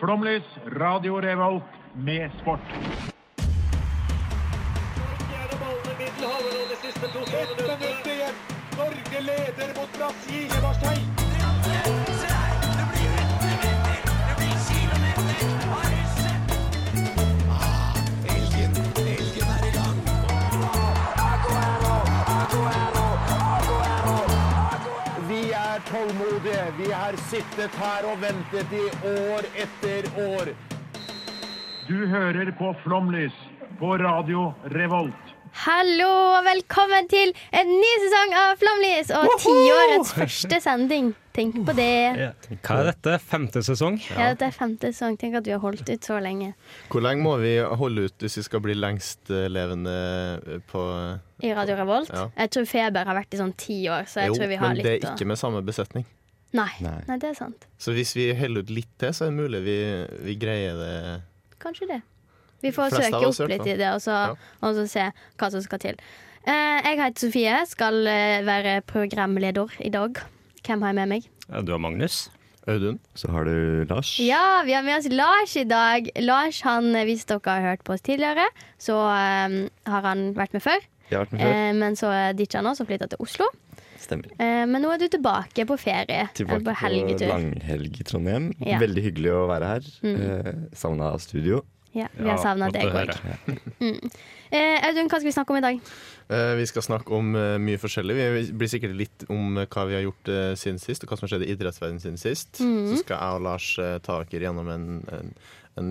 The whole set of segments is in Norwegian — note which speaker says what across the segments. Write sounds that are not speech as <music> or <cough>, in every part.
Speaker 1: Flomlys, Radio Revolt med sport.
Speaker 2: Ett minutt igjen. Norge leder mot Brasil i Marseille.
Speaker 3: Vi er tålmodige. Vi har sittet her og ventet i år etter år.
Speaker 1: Du hører på Flomlys på Radio Revolt.
Speaker 4: Hallo og velkommen til en ny sesong av Flomlys og tiårets første sending. Tenk på det.
Speaker 5: Hva er dette? Femte sesong?
Speaker 4: Ja, dette er femte sesong. Tenk at vi har holdt ut så lenge.
Speaker 6: Hvor lenge må vi holde ut hvis vi skal bli lengstlevende eh, på
Speaker 4: I Radio Revolt.
Speaker 6: Ja.
Speaker 4: Jeg tror feber har vært i sånn ti år, så jeg
Speaker 6: Jo,
Speaker 4: tror vi har
Speaker 6: men det
Speaker 4: litt
Speaker 6: er ikke med samme besetning.
Speaker 4: å Nei. Nei, det er sant.
Speaker 6: Så hvis vi holder ut litt til, så er det mulig vi, vi greier det.
Speaker 4: Kanskje det. Vi får
Speaker 6: Flest
Speaker 4: søke
Speaker 6: av oss
Speaker 4: opp
Speaker 6: i hvert
Speaker 4: litt
Speaker 6: fall.
Speaker 4: i det, og så,
Speaker 6: Ja.
Speaker 4: og så se hva som skal til. Eh, jeg heter Sofie, skal eh, være programleder i dag. Hvem har jeg med meg?
Speaker 5: Ja, Du og Magnus?
Speaker 6: Audun?
Speaker 7: Så har du Lars.
Speaker 4: Ja, vi har med oss Lars i dag. Lars, han, eh, hvis dere har hørt på oss tidligere, så eh, har han vært med før.
Speaker 7: Jeg har vært med før.
Speaker 4: Eh, men så ditcha han oss og flytta til Oslo.
Speaker 7: Stemmer.
Speaker 4: Eh, men nå er du tilbake på ferie.
Speaker 7: Tilbake
Speaker 4: Eller på helgetur.
Speaker 7: på langhelg i Trondheim.
Speaker 4: Ja.
Speaker 7: Veldig hyggelig å være her. Mm. Savna studio.
Speaker 4: Ja, vi har savna
Speaker 5: godt
Speaker 4: deg
Speaker 5: å
Speaker 4: òg.
Speaker 5: høre.
Speaker 4: Eh, Audun, hva skal vi snakke om i dag?
Speaker 6: Eh, Vi skal snakke om eh, mye forskjellig. Vi blir sikkert litt om eh, hva vi har gjort eh, siden sist, og hva som har skjedd i idrettsverdenen siden sist.
Speaker 4: Mhm.
Speaker 6: Så skal jeg og Lars eh, ta dere gjennom en, en,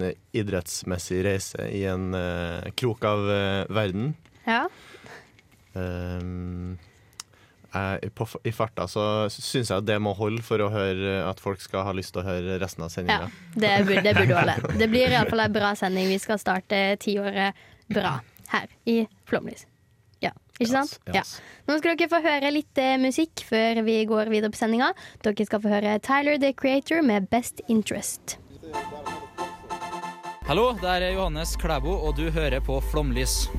Speaker 6: en idrettsmessig reise i en eh, krok av eh, verden.
Speaker 4: Ja.
Speaker 6: Ehm, jeg, på, I farta så syns jeg at det må holde for å høre at folk skal ha lyst til å høre resten av
Speaker 4: ja
Speaker 6: sendinga.
Speaker 4: det, bur- det <laughs> burde holde. Det blir iallfall ei bra sending. Vi skal starte tiåret bra her i Flomlys. Ja, ikke sant? Ja. Nå skal dere få høre litt eh, musikk før vi går videre på sendinga. Dere skal få høre Tyler the Creator med Best Interest.
Speaker 8: Hallo, det er Johannes Klæbo, og du hører på Flomlys.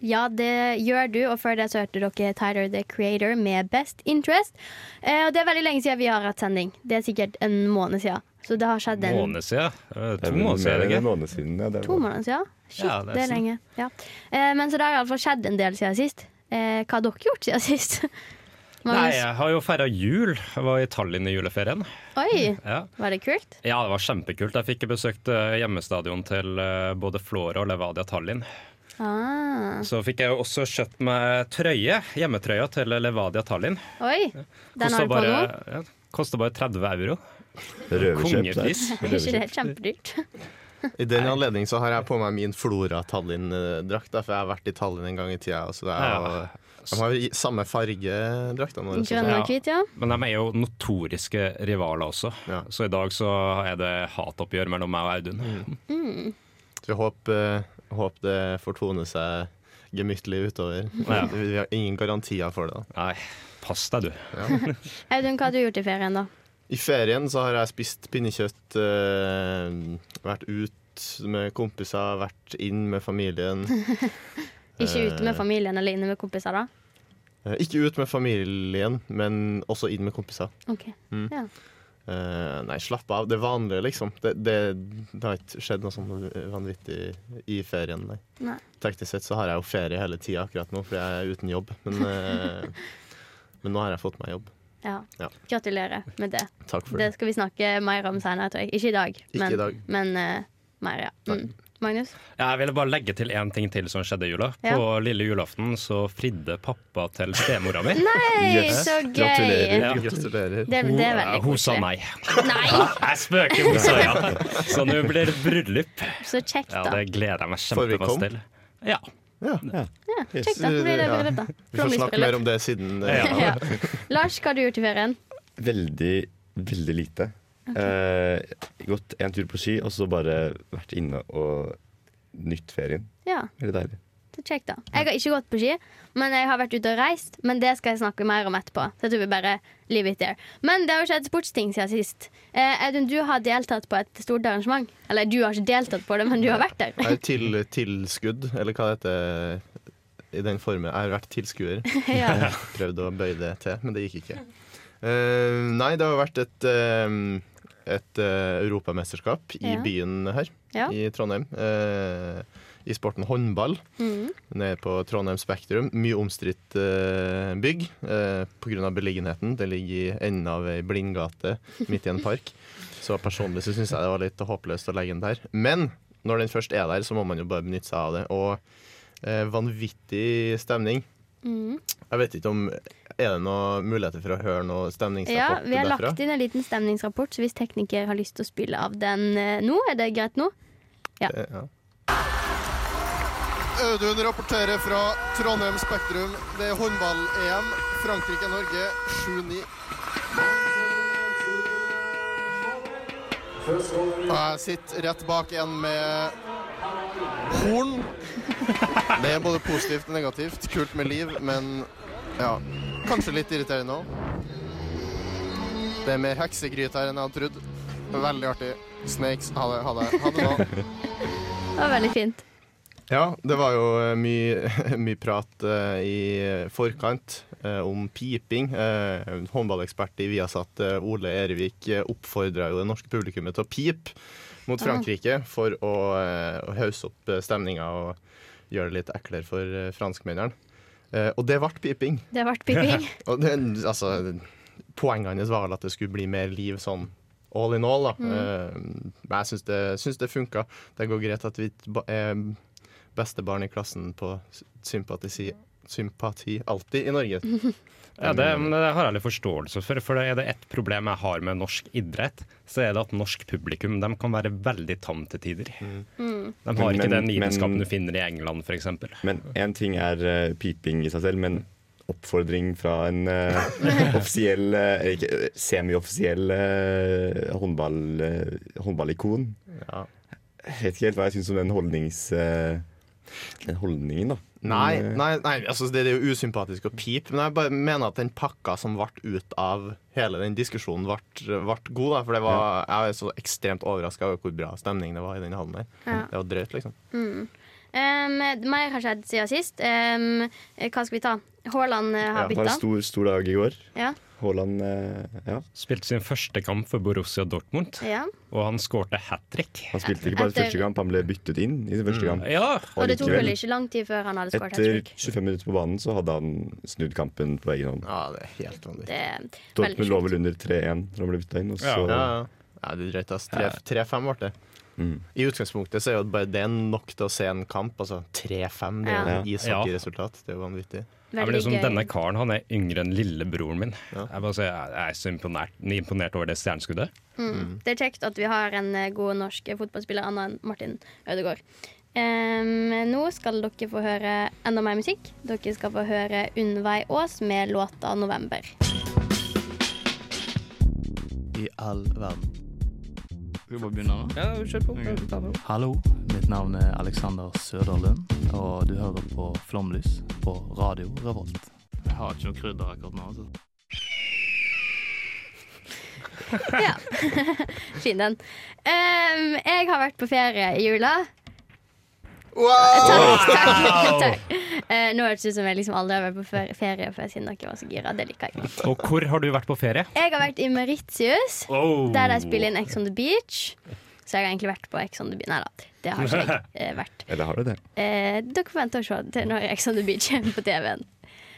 Speaker 4: Ja, det gjør du, og før det så hørte dere Tyler the Creator med Best Interest. Eh, og det er veldig lenge siden vi har hatt sending. Det er sikkert en måned siden. Så det har skjedd en
Speaker 5: Måned siden? Eh, To
Speaker 7: Det
Speaker 5: måneder
Speaker 7: er Ehm, mer
Speaker 5: siden,
Speaker 7: enn en
Speaker 5: ikke?
Speaker 7: måned siden. Ja, det er
Speaker 4: to måneder siden. Shit,
Speaker 5: Ja,
Speaker 4: det,
Speaker 5: det
Speaker 4: er
Speaker 5: er
Speaker 4: lenge. Ja. Eh, men så det har iallfall skjedd en del siden sist. Eh, hva har dere gjort siden sist? <laughs>
Speaker 5: Nei,
Speaker 4: Magnus?
Speaker 5: jeg har jo feira jul. Jeg var i Tallinn i juleferien.
Speaker 4: Oi,
Speaker 5: Ja.
Speaker 4: var det kult?
Speaker 5: ja, det var kjempekult. Jeg fikk besøkt eh, hjemmestadion til eh, både Flora og Levadia Tallinn.
Speaker 4: Ah.
Speaker 5: Så fikk jeg jo også kjøpt meg trøye, hjemmetrøya til Levadia Tallinn.
Speaker 4: Oi, den har du på nå?
Speaker 5: ja, Kosta bare 30 euro.
Speaker 7: Røverkjøp der.
Speaker 5: Kongepris.
Speaker 4: Er ikke det kjempedyrt?
Speaker 6: <laughs> I den anledning så har jeg på meg min Flora Tallinn-drakt, da, for jeg har vært i Tallinn en gang i tida. Så det er,
Speaker 5: Ja.
Speaker 6: De har i- samme farge, draktene våre. så-
Speaker 4: Grønn og
Speaker 5: Ja.
Speaker 4: hvit, ja.
Speaker 5: Men de er jo notoriske rivaler også,
Speaker 6: sånn, Ja.
Speaker 5: så i dag så er det hatoppgjør mellom meg og Audun.
Speaker 6: Så vi håper, håper det fortoner seg gemyttlig utover.
Speaker 5: Ja.
Speaker 6: <laughs> Vi vi har ingen garantier for det. da
Speaker 5: Nei, pass deg, du.
Speaker 4: Audun, hva har du gjort i ferien, da?
Speaker 6: I ferien så har jeg spist pinnekjøtt, eh, vært ut med kompiser, vært inn med familien.
Speaker 4: Ikke ute med familien eller inne med kompiser, da?
Speaker 6: Eh, Ikke ut med familien, men også inn med kompiser.
Speaker 4: Ok, ja.
Speaker 6: Eh, nei, slapp av. Det vanlige, liksom. Det, det, det har ikke skjedd noe sånn vanvittig i ferien, nei.
Speaker 4: Nei.
Speaker 6: Teknisk sett så har jeg jo ferie hele tida akkurat nå, fordi jeg er uten jobb.
Speaker 4: <laughs>
Speaker 6: Men, eh, men nå har jeg fått meg jobb.
Speaker 4: Ja.
Speaker 6: Ja.
Speaker 4: Gratulerer med det.
Speaker 6: Takk for
Speaker 4: Det
Speaker 6: det.
Speaker 4: skal vi snakke mer om senere, tror jeg. Ikke i dag,
Speaker 6: Ikke
Speaker 4: men,
Speaker 6: i dag.
Speaker 4: men eh, mer, ja. Mm. Magnus?
Speaker 5: Jeg ville bare legge til én ting til som skjedde i jula.
Speaker 4: Ja.
Speaker 5: På lille julaften så fridde pappa til stemora
Speaker 4: <laughs>
Speaker 5: mi.
Speaker 4: Hei,
Speaker 7: Yes.
Speaker 4: så gøy!
Speaker 7: Gratulerer.
Speaker 5: Ja.
Speaker 6: Gratulerer.
Speaker 4: Det, det er veldig
Speaker 5: Hun- Hun sa
Speaker 4: koselig.
Speaker 5: nei.
Speaker 4: Nei,
Speaker 5: Jeg spøker, hun sa ja. Så nå blir det bryllup.
Speaker 4: så kjekt,
Speaker 5: Ja,
Speaker 4: da.
Speaker 5: Det gleder jeg meg
Speaker 6: Får vi
Speaker 5: kjempemasse
Speaker 6: komme?
Speaker 5: til. Ja.
Speaker 4: Ja, kjekt, da.
Speaker 6: det-
Speaker 4: Blir det
Speaker 6: ja.
Speaker 4: bryllup, da?
Speaker 6: Vi får snakke mer om det siden. eh,
Speaker 5: Ja.
Speaker 4: <laughs> Ja. Lars, hva har du gjort i ferien?
Speaker 7: Veldig, veldig lite. Eh, gått en tur på ski, og så bare vært inne og nytt ferien.
Speaker 4: Ja,
Speaker 7: Veldig deilig.
Speaker 4: så kjekt, da. Jeg har ikke gått på ski, men jeg har vært ute og reist. Men det skal jeg snakke mer om etterpå. Så jeg tror vi bare leave it there. Men det har jo skjedd sportsting siden sist. Eh, Audun, du har deltatt på et stort arrangement. Eller du har ikke deltatt på det, men du har vært der.
Speaker 6: Jeg er til, tilskudd, eller hva det heter i den formen. Jeg har vært tilskuer.
Speaker 4: <laughs> ja.
Speaker 6: Prøvd å bøye det til, men det gikk ikke. Eh, nei, det har vært et eh, et eh, europamesterskap i
Speaker 4: Ja.
Speaker 6: byen her,
Speaker 4: Ja.
Speaker 6: i Trondheim. eh, I sporten håndball,
Speaker 4: Mm.
Speaker 6: nede på Trondheim Spektrum. Mye omstridt eh, bygg eh, pga. beliggenheten. Det ligger i enden av ei blindgate midt i en
Speaker 4: <laughs>
Speaker 6: park. Så personlig så syns jeg det var litt håpløst å legge den der. Men når den først er der, så må man jo bare benytte seg av det. Og eh, vanvittig stemning.
Speaker 4: Mm.
Speaker 6: Jeg vet ikke om Er det noen muligheter for å høre noe
Speaker 4: Ja,
Speaker 6: stemningsrapport
Speaker 4: vi har
Speaker 6: derfra?
Speaker 4: lagt inn en liten stemningsrapport, så hvis tekniker har lyst til å spille av den eh, nå, er det greit nå?
Speaker 6: Eh, ja.
Speaker 9: Audun rapporterer fra Trondheim Spektrum. Det er håndball-EM. Frankrike-Norge 7-9. Og Jeg sitter rett bak en med horn. Det er både positivt og negativt. Kult med liv, men ja, kanskje litt irriterende òg. Det er mer heksegryte her enn jeg hadde trodd. Veldig artig. Snakes. Ha det. Ha det. Ha det nå.
Speaker 4: Det var veldig fint.
Speaker 6: Ja, det var jo eh, mye, <laughs> mye prat eh, i forkant eh, om piping. Eh, håndballekspert i Viasat eh, Ole Erevik eh, oppfordra jo det norske publikummet til å pipe mot Frankrike for å, eh, å hausse opp eh, stemninga og gjøre det litt eklere for eh, franskmennene. Eh, og det ble piping.
Speaker 4: Det ble
Speaker 6: <laughs>
Speaker 4: piping.
Speaker 6: Og det, altså, poenget hans var vel at det skulle bli mer liv sånn all in all. Da. Eh, men jeg syns det, syns det funka. Det går greit at vi t- ba- er beste barn i klassen på s- sympatisi, sympati alltid i Norge.
Speaker 5: Ja, det,
Speaker 6: Mm.
Speaker 5: men det har jeg litt forståelse for. For er det ett problem jeg har med norsk idrett, så er det at norsk publikum de kan være veldig tam til tider.
Speaker 6: Mm.
Speaker 4: Mm.
Speaker 5: De har
Speaker 7: Men-
Speaker 5: ikke den lidenskapen
Speaker 7: men-
Speaker 5: du finner i England, f.eks.
Speaker 7: Men én ting er eh, piping i seg selv, men oppfordring fra en
Speaker 4: <laughs>
Speaker 7: eh, offisiell eh, eller ikke, eh, semioffisiell eh, håndball, eh, håndballikon
Speaker 6: Ja.
Speaker 7: Jeg vet ikke helt hva jeg syns om den holdnings... eh, den holdningen, da.
Speaker 6: Nei, nei, nei altså, det er jo usympatisk å pipe, men jeg bare mener at den pakka som ble ut av hele den diskusjonen, ble, ble god. Da, for det var, jeg er så ekstremt overraska over hvor bra stemning det var i den hallen der. Det var drøyt, liksom.
Speaker 4: Um, meg har skjedd siden sist. Um, hva skal vi ta? Haaland eh,
Speaker 7: Ja,
Speaker 4: har
Speaker 7: det var en
Speaker 4: bytta.
Speaker 7: stor, stor dag i går.
Speaker 4: Ja,
Speaker 7: Haaland eh, ja,
Speaker 5: Spilte sin første kamp for Borussia Dortmund,
Speaker 4: ja.
Speaker 5: og han skårte hat trick.
Speaker 7: han spilte ikke bare
Speaker 4: Etter-
Speaker 7: første kamp, han ble byttet inn i sin første kamp.
Speaker 5: Mm. Ja,
Speaker 4: Og det tok
Speaker 7: likevel,
Speaker 4: vel ikke lang tid før han hadde skåret hat
Speaker 7: Etter
Speaker 4: trick.
Speaker 7: 25 minutter på banen så hadde han snudd kampen på egen hånd.
Speaker 6: Ja, det er helt vanlig.
Speaker 4: Det er veldig
Speaker 7: Dortmund lå
Speaker 4: sjukt.
Speaker 7: vel under 3-1 da han ble bytta inn, og så
Speaker 5: Ja.
Speaker 6: Ja, ja. ja det er drøyt. ass. Tre- 3-5 ble det.
Speaker 7: Mm.
Speaker 6: I utgangspunktet så er jo bare det nok til å se en kamp. Altså 3-5, det er jo
Speaker 7: Ja.
Speaker 6: et ishockeyresultat. Det er jo vanvittig.
Speaker 5: Ja, men
Speaker 4: Veldig
Speaker 5: liksom,
Speaker 4: gøy.
Speaker 5: denne karen han er yngre enn lillebroren min. Jeg, bare, sier, jeg er så imponert, imponert over det stjerneskuddet.
Speaker 4: Mm. Det er kjekt at vi har en eh, god norsk fotballspiller annet enn Martin Ødegaard. Em, nå skal dere få høre enda mer musikk. Dere skal få høre Unnvei Aas med låta 'November'.
Speaker 3: I all verden.
Speaker 10: Skal vi bare begynne nå? Ja, kjør på. Hallo, mitt navn er Alexander Søderlund, og du hører på Flomlys på Radio Revolt. Jeg har ikke noe krydder akkurat nå. altså.
Speaker 4: Ja. fin den. Em, jeg har vært på ferie i jula. Takk, takk, <laughs> takk. Eh, nå høres det ut som jeg liksom aldri har vært på fer- ferie, for jeg siden dere var så gira. Det liker jeg.
Speaker 5: Og hvor har du vært på ferie?
Speaker 4: Jeg har vært i Mauritius.
Speaker 5: Oh.
Speaker 4: Der de spiller inn Ex on the Beach. Så jeg har egentlig vært på Ex on the Beach. Nei da, det har ikke jeg eh, vært.
Speaker 7: Eller har du det?
Speaker 4: Eh, dere får vente og se til når Ex on the Beach <laughs> er på TV-en.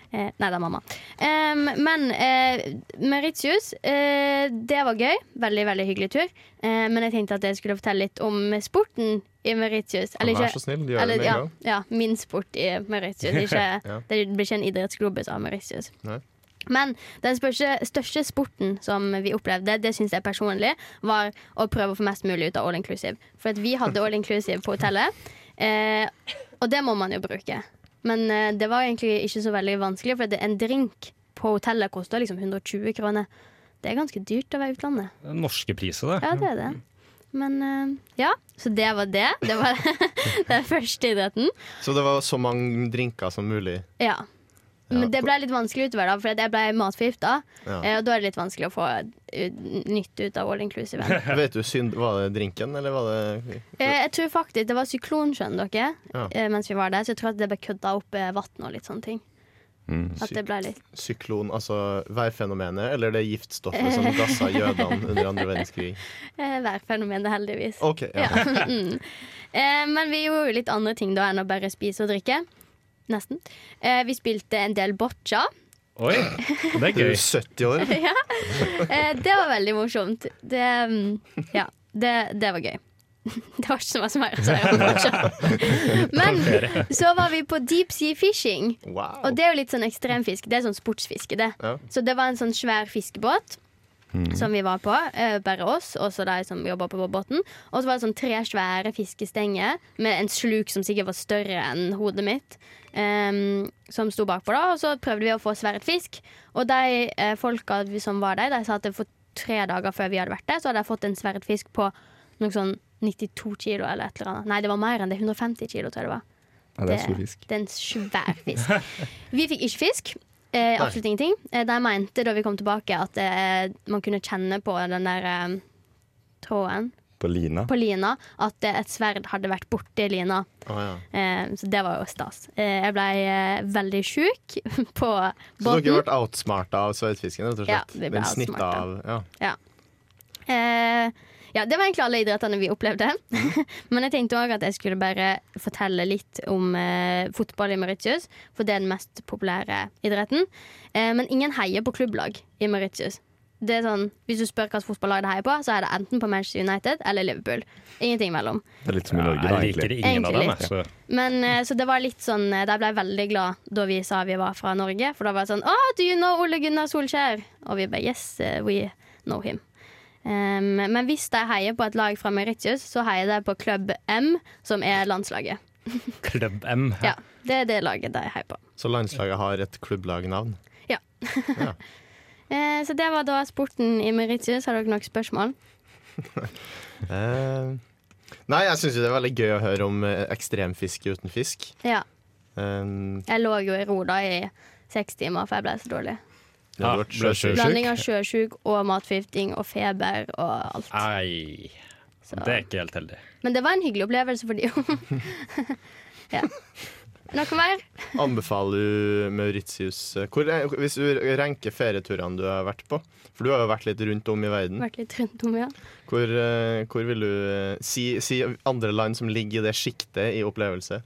Speaker 4: Eh, nei, det er mamma. Em, men eh, Mauritius, eh, det var gøy. Veldig veldig hyggelig tur. Eh, men jeg tenkte at jeg skulle fortelle litt om sporten i Mauritius. Eller
Speaker 6: Vær
Speaker 4: ikke
Speaker 6: så snill, gjør det
Speaker 4: eller,
Speaker 6: med en
Speaker 4: ja,
Speaker 6: gang.
Speaker 4: ja, min sport i Mauritius. Ikke,
Speaker 6: <laughs> Ja.
Speaker 4: Det blir ikke en idrettsglobus av Mauritius.
Speaker 6: Nei.
Speaker 4: Men den største, største sporten som vi opplevde, det syns jeg personlig, var å prøve å få mest mulig ut av all inclusive. For at vi hadde all inclusive på hotellet, eh, og det må man jo bruke. Men eh, det var egentlig ikke så veldig vanskelig, for det, en drink på hotellet koster liksom 120 kroner. Det er ganske dyrt å være i utlandet.
Speaker 5: Norske priser, det.
Speaker 4: Ja, det er det.
Speaker 6: Mm.
Speaker 4: Men eh, ja, så det var det. Det var <laughs> den første idretten.
Speaker 6: Så det var så mange drinker som mulig.
Speaker 4: Ja. Men det ble litt vanskelig utover, da, for at jeg ble matforgifta.
Speaker 6: Ja.
Speaker 4: eh, Og da er det litt vanskelig å få eh, nytte ut av all
Speaker 6: <laughs>
Speaker 4: inclusive.
Speaker 6: Vet du, synd, Var det drinken, eller var det
Speaker 4: Eh, Jeg tror faktisk det var syklon, skjønner dere,
Speaker 6: Ja.
Speaker 4: eh, mens vi var der. Så jeg tror at det ble kødda opp eh, vann og litt sånne ting.
Speaker 6: Mm,
Speaker 4: At det ble litt
Speaker 6: Syklon, altså værfenomenet, eller det
Speaker 4: <laughs>
Speaker 6: giftstoffet som gassa jødene under andre verdenskrig?
Speaker 4: eh, værfenomenet, heldigvis.
Speaker 6: Ok, ja.
Speaker 4: <laughs> mm. eh, men vi gjorde jo litt andre ting da enn å bare spise og drikke. Nesten. Eh, vi spilte en del boccia.
Speaker 5: Oi, det er
Speaker 6: Du
Speaker 5: gøy.
Speaker 6: er 70 år.
Speaker 4: <laughs> ja. eh, det var veldig morsomt. Det, mm, ja, det, det var gøy. <laughs> Det var ikke så mye mer å si om boccia. Men så var vi på deep sea fishing.
Speaker 6: Wow.
Speaker 4: Og det er jo litt sånn ekstremfiske. Det er sånn sportsfiske, det.
Speaker 6: Ja. Mm.
Speaker 4: Så det var en sånn svær fiskebåt som vi var på. eh, Bare oss, og så de som jobba på båten. Og så var det sånn tre svære fiskestenger med en sluk som sikkert var større enn hodet mitt. em, som sto bakpå, da. Og så prøvde vi å få sverdet fisk. Og de eh, folka vi- som var der, de sa at det for tre dager før vi hadde vært der, så hadde de fått en sverdfisk på noe sånn 92 kilo eller et eller annet. Nei, det var mer enn det. 150 kilo, tror jeg det var.
Speaker 7: Ja, det er stor fisk.
Speaker 4: Det er en
Speaker 7: <laughs>
Speaker 4: svær fisk. Vi fikk ikke fisk. Eh, absolutt ingenting. Eh, de mente da vi kom tilbake, at eh, man kunne kjenne på den der eh, tråden
Speaker 7: På lina.
Speaker 4: på lina at eh, et sverd hadde vært borti lina.
Speaker 6: Å, ja.
Speaker 4: Eh, så det var jo stas. Eh, jeg ble eh, veldig sjuk <laughs> på
Speaker 6: Så dere har
Speaker 4: båten.
Speaker 6: vært outsmarta av sverdfisken, rett og
Speaker 4: Ja,
Speaker 6: slett?
Speaker 4: vi ble
Speaker 6: Den snittet
Speaker 4: outsmarta.
Speaker 6: av ja.
Speaker 4: Ja. Eh, ja, det var egentlig alle idrettene vi opplevde. <laughs> Men jeg tenkte òg at jeg skulle bare fortelle litt om eh, fotball i Mauritius. For det er den mest populære idretten. Eh, men ingen heier på klubblag i Mauritius. Det er sånn, Hvis du spør hvilket fotballag de heier på, så er det enten på Manchester United eller Liverpool. Ingenting mellom.
Speaker 7: Det er litt som i
Speaker 5: Ja,
Speaker 7: Norge, da,
Speaker 5: jeg liker
Speaker 7: egentlig.
Speaker 5: ingen av dem.
Speaker 4: Egentlig.
Speaker 5: jeg, Så.
Speaker 4: Men eh, Så det var litt sånn eh, De ble veldig glad da vi sa vi var fra Norge. For da var det sånn oh, Do you know Ole Gunnar Solskjær? Og vi bare Yes, eh, we know him. Um, men hvis de heier på et lag fra Mauritius, så heier de på Club M, som er landslaget.
Speaker 5: Klubb M.
Speaker 4: Ja, Det er det laget de heier på.
Speaker 6: Så landslaget har et klubblagnavn?
Speaker 4: Ja.
Speaker 6: Ja.
Speaker 4: Eh, så det var da sporten i Mauritius. Har dere noen spørsmål?
Speaker 6: Eh, nei, jeg syns jo det er veldig gøy å høre om eh, ekstremfiske uten fisk.
Speaker 4: Ja.
Speaker 6: Um,
Speaker 4: Jeg lå jo i ro da i seks timer, for jeg ble så dårlig.
Speaker 6: det har
Speaker 5: Ja,
Speaker 6: vært
Speaker 5: ble
Speaker 6: sjøsjuk.
Speaker 5: sjøsjuk.
Speaker 4: Blanding av <laughs> sjøsjuk og matforgifting og feber og alt.
Speaker 5: Ei,
Speaker 4: Så.
Speaker 5: det er ikke helt heldig.
Speaker 4: Men det var en hyggelig opplevelse for de <laughs> ja. Noe mer?
Speaker 6: Anbefaler du Mauritius eh, hvor, er- Hvis du ranker ferieturene du har vært på, for du har jo vært litt rundt om i verden,
Speaker 4: Vært litt rundt om, ja.
Speaker 6: hvor, eh, hvor vil du eh, si, si andre land som ligger i det sjiktet i opplevelse?